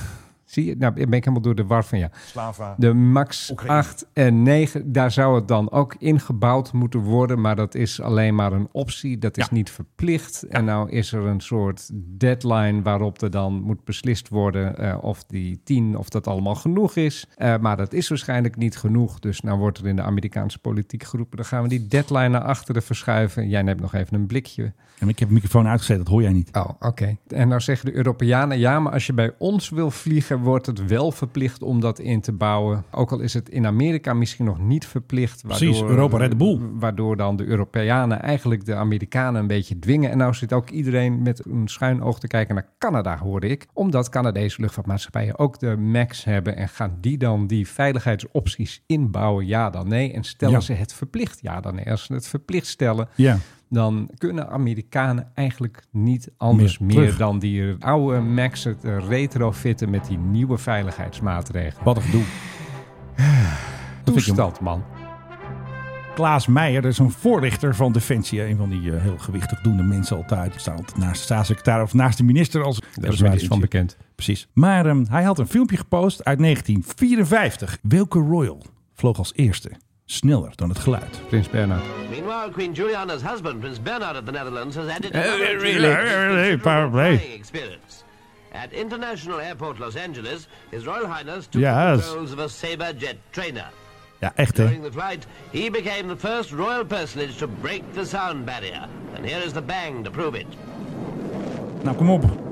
zie je? Nou, ben ik helemaal door de war van ja.
Slava.
De Max
Oekraïne.
8 en 9, daar zou het dan ook ingebouwd moeten worden. Maar dat is alleen maar een optie, dat is niet verplicht. En nou is er een soort deadline waarop er dan moet beslist worden eh, of die 10, of dat allemaal genoeg is. Eh, maar dat is waarschijnlijk niet genoeg. Dus nou wordt er in de Amerikaanse politiek geroepen, dan gaan we die deadline naar achteren verschuiven. Jij neemt nog even een blikje.
En ik heb de microfoon uitgezet, dat hoor jij niet.
Oh, oké. En nou zeggen de Europeanen, ja, maar als je bij ons wil vliegen, wordt het wel verplicht om dat in te bouwen. Ook al is het in Amerika misschien nog niet verplicht.
Precies, Europa redt de boel.
Waardoor dan de Europeanen eigenlijk de Amerikanen een beetje dwingen. En nou zit ook iedereen met een schuin oog te kijken naar Canada, hoorde ik. Omdat Canadese luchtvaartmaatschappijen ook de MAX hebben. En gaan die dan die veiligheidsopties inbouwen? Ja dan nee. En stellen
Ja.
ze het verplicht? Ja dan nee. Als ze het verplicht stellen,
Ja.
dan kunnen Amerikanen eigenlijk niet anders
Meer
meer,
terug.
dan die oude Maxen te retrofitten met die nieuwe veiligheidsmaatregelen.
Wat een gedoe.
Toestand, man.
Klaas Meijer, dat is een voorlichter van Defensie. Een van die eh, heel gewichtig doende mensen altijd. Die staan altijd naast de staatssecretaris of naast de minister. Als
Daar is me iets van bekend.
Precies. Maar ehm, hij had een filmpje gepost uit 1954. Welke Royal vloog als eerste sneller dan het geluid?
Prins Bernhard.
Meanwhile, Queen Juliana's husband, Prince Bernard of the Netherlands, has added
Eh, really? Eh, eh, probably.
flying experience. At International Airport Los Angeles, His Royal Highness took
Yes.
the controls of a Sabre jet trainer.
Ja, echt hè?
During the flight, he became the first royal personage to break the sound barrier. And here is the bang to prove it.
Nou, kom op.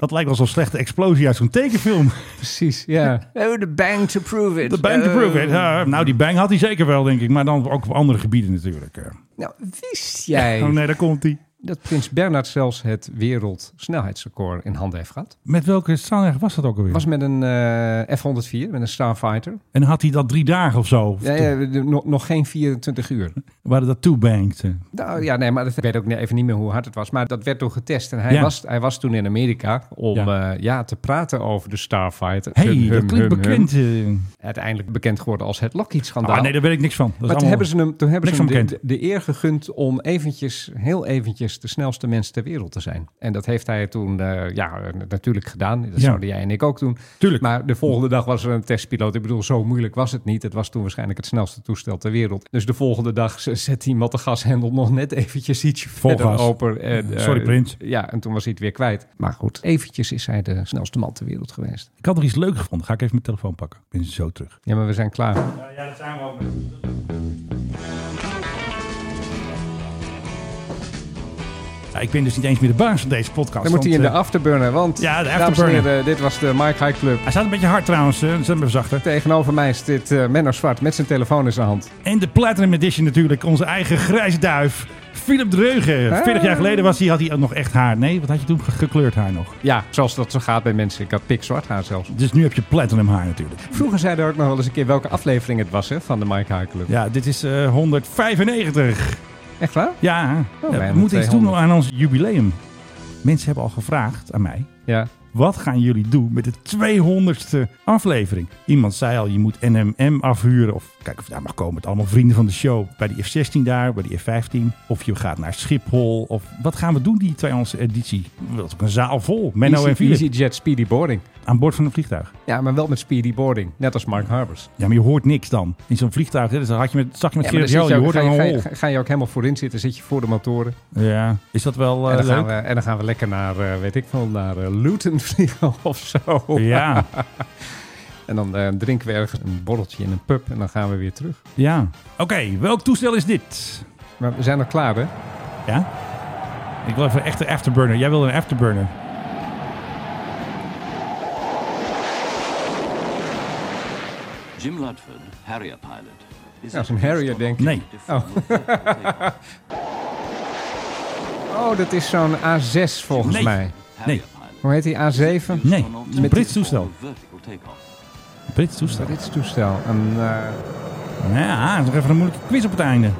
Dat lijkt wel zo'n slechte explosie uit zo'n tekenfilm.
Precies, ja. Oh, the bang to prove it.
De bang to prove it. Ja, nou, die bang had hij zeker wel, denk ik. Maar dan ook op andere gebieden natuurlijk. eh.
Nou, wist jij
Oh nee, daar komt hij.
dat Prins Bernhard zelfs het wereldsnelheidsrecord in handen heeft gehad.
Met welke straaljager was dat ook alweer?
Was met een eh, F-104, met een Starfighter.
En had hij dat drie dagen of zo? Of
Ja, ja, de- nog, nog geen 24 uur.
Waar dat eh? toebankte.
Nou ja, nee, maar dat ik weet ook niet- even niet meer hoe hard het was. Maar dat werd toen getest. En hij,
Ja.
was, hij was toen in Amerika om ja. ja, te praten over de Starfighter.
Hey,
Hum,
dat
hum,
klinkt
hum, hum.
bekend, eh.
Uiteindelijk bekend geworden als het Lockheed-schandaal.
Ah, nee, daar weet ik niks van. Dat is
maar toen
allemaal-
hebben ze hem, toen hebben ze
niks
hem
van bekend.
de, de eer gegund om eventjes, heel eventjes, de snelste mens ter wereld te zijn. En dat heeft hij toen eh, ja, eh, natuurlijk gedaan. Dat
Ja.
zouden jij en ik ook doen. Tuurlijk. Maar de volgende dag was er een testpiloot. Ik bedoel, zo moeilijk was het niet. Het was toen waarschijnlijk het snelste toestel ter wereld. Dus de volgende dag z- zet iemand de gashendel nog net eventjes ietsje
Vol gas.
verder open. En, eh,
Sorry, Prins.
Ja, en toen was hij het weer kwijt. Maar goed, eventjes is hij de snelste man ter wereld geweest.
Ik had nog iets leuks gevonden. Ga ik even mijn telefoon pakken. Ik ben zo terug.
Ja, maar we zijn klaar.
Ja, dat zijn we ook. ik ben dus niet eens meer de baas van deze podcast.
Dan moet hij
want,
in de
eh,
afterburner, want...
Ja, de
dames en
afterburner.
heren, dit was de Mike High Club.
Hij staat een beetje hard trouwens, eh, zet hem even zachter.
Tegenover mij zit eh Menno Zwart met zijn telefoon in zijn hand.
En de Platinum Edition natuurlijk, onze eigen grijze duif, Philip Dreugen.
Hey.
40 jaar geleden was hij, had hij ook nog echt haar. Nee, wat had je toen? Ge- Gekleurd haar nog.
Ja, zoals dat zo gaat bij mensen. Ik had pikzwart haar zelfs.
Dus nu heb je platinum haar natuurlijk.
Vroeger zeiden we ook nog wel eens een keer welke aflevering het was hè, van de Mike High Club.
Ja, dit is eh, 195.
Echt waar?
Ja,
Oh,
ja,
bijna
we moeten iets doen
200.
aan ons jubileum. Mensen hebben al gevraagd aan mij.
Ja.
Wat gaan jullie doen met de 200ste aflevering? Iemand zei al, je moet NMM afhuren. Of kijk of je daar mag komen met allemaal vrienden van de show. Bij die F-16 daar, bij die F-15. Of je gaat naar Schiphol. Of wat gaan we doen die 200ste editie? Dat is ook een zaal vol. Menno
Easy-
en Philip.
EasyJet Speedy Boarding.
Aan boord van een vliegtuig.
Ja, maar wel met Speedy Boarding. Net als Mark Harbers.
Ja, maar je hoort niks dan. In zo'n vliegtuig, hè, dus dan had je met, zag je met
Ja, maar dan
Gerard
zit
Joling,
je
je
ook-
hoort
ga, je,
dan
ga,
een
je, ga je ook helemaal voorin zitten. Zit je voor de motoren.
hol. Ja, is dat wel eh,
en, dan gaan
leuk?
we, en dan gaan we lekker naar, eh, weet ik veel, naar eh, Luton vliegen of zo.
Ja.
en dan eh, drinken we ergens een borreltje in een pub en dan gaan we weer terug.
Ja. Oké, welk toestel is dit?
Maar we zijn al klaar, hè?
Ja? Ik wil even echt een afterburner. Jij wil een afterburner.
Jim Ludford, Harrier pilot. is
Ja, zo'n Harrier, denk ik.
Nee.
Oh. oh, dat is zo'n A6 volgens
Nee.
mij.
Nee.
Hoe heet die? A7?
Nee, het is een Brits toestel.
Vertical takeoff.
Een Brits toestel.
Brits toestel. Een, eh,
Ja, nog even een moeilijke quiz op het einde.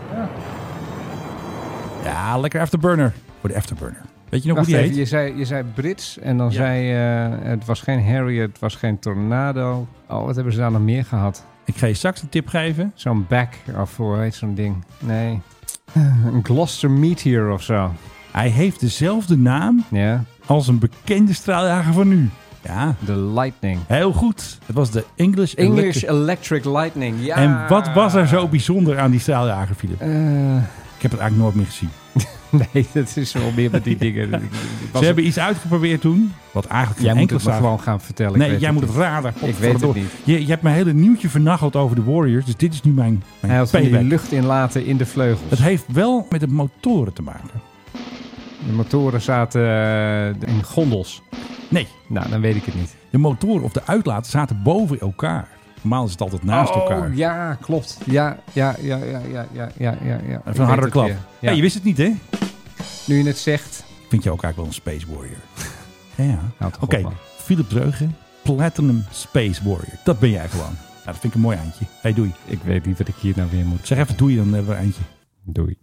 Ja, lekker afterburner. Voor de afterburner. Weet je nog
wacht
hoe die
even,
heet?
Je zei, je zei Brits en dan
Ja.
zei je... eh, het was geen Harrier, het was geen Tornado. Oh, wat hebben ze daar nog meer gehad?
Ik ga je straks een tip geven.
Zo'n back of hoe heet zo'n ding? Nee. Eh, Een Gloucester Meteor of zo.
Hij heeft dezelfde naam
Ja.
als een bekende straaljager van nu. Ja.
De Lightning.
Heel goed. Het was de English,
English
Electric-
Electric Lightning, ja.
En wat was er zo bijzonder aan die straaljager, Philip?
Eh,
Ik heb het eigenlijk nooit meer gezien.
nee, dat is wel meer met die dingen. Het was-
Ze hebben iets uitgeprobeerd toen, wat eigenlijk geen
Jij moet
enkele
het me
zaak-
gewoon gaan vertellen. ik
Nee,
weet
jij moet het
niet.
raden.
Ik weet het
Potverdorie.
niet.
Je, je hebt mijn hele nieuwtje vernacheld over de Warriors, dus dit is nu mijn, mijn
Hij had van die
payback.
lucht inlaten in de vleugels.
Het heeft wel met de motoren te maken.
De motoren zaten eh, in gondels.
Nee,
Nou, dan weet ik het niet.
de motoren of de uitlaat zaten boven elkaar. Normaal is het altijd naast
oh,
elkaar.
ja, klopt. Ja, ja, ja, ja, ja, ja, ja, ja. ja.
Even een hardere klap.
Ja.
Hey, je wist het niet, hè?
Nu je het zegt.
Vind je ook eigenlijk wel een Space Warrior? ja.
Nou, toch
Oké,
op, man.
Philip Dreugen, Platinum Space Warrior. Dat ben jij gewoon. Nou, dat vind ik een mooi eindje. Hey, doei.
Ik weet niet wat ik hier nou weer moet.
Zeg even doei, dan hebben we een eindje.
Doei.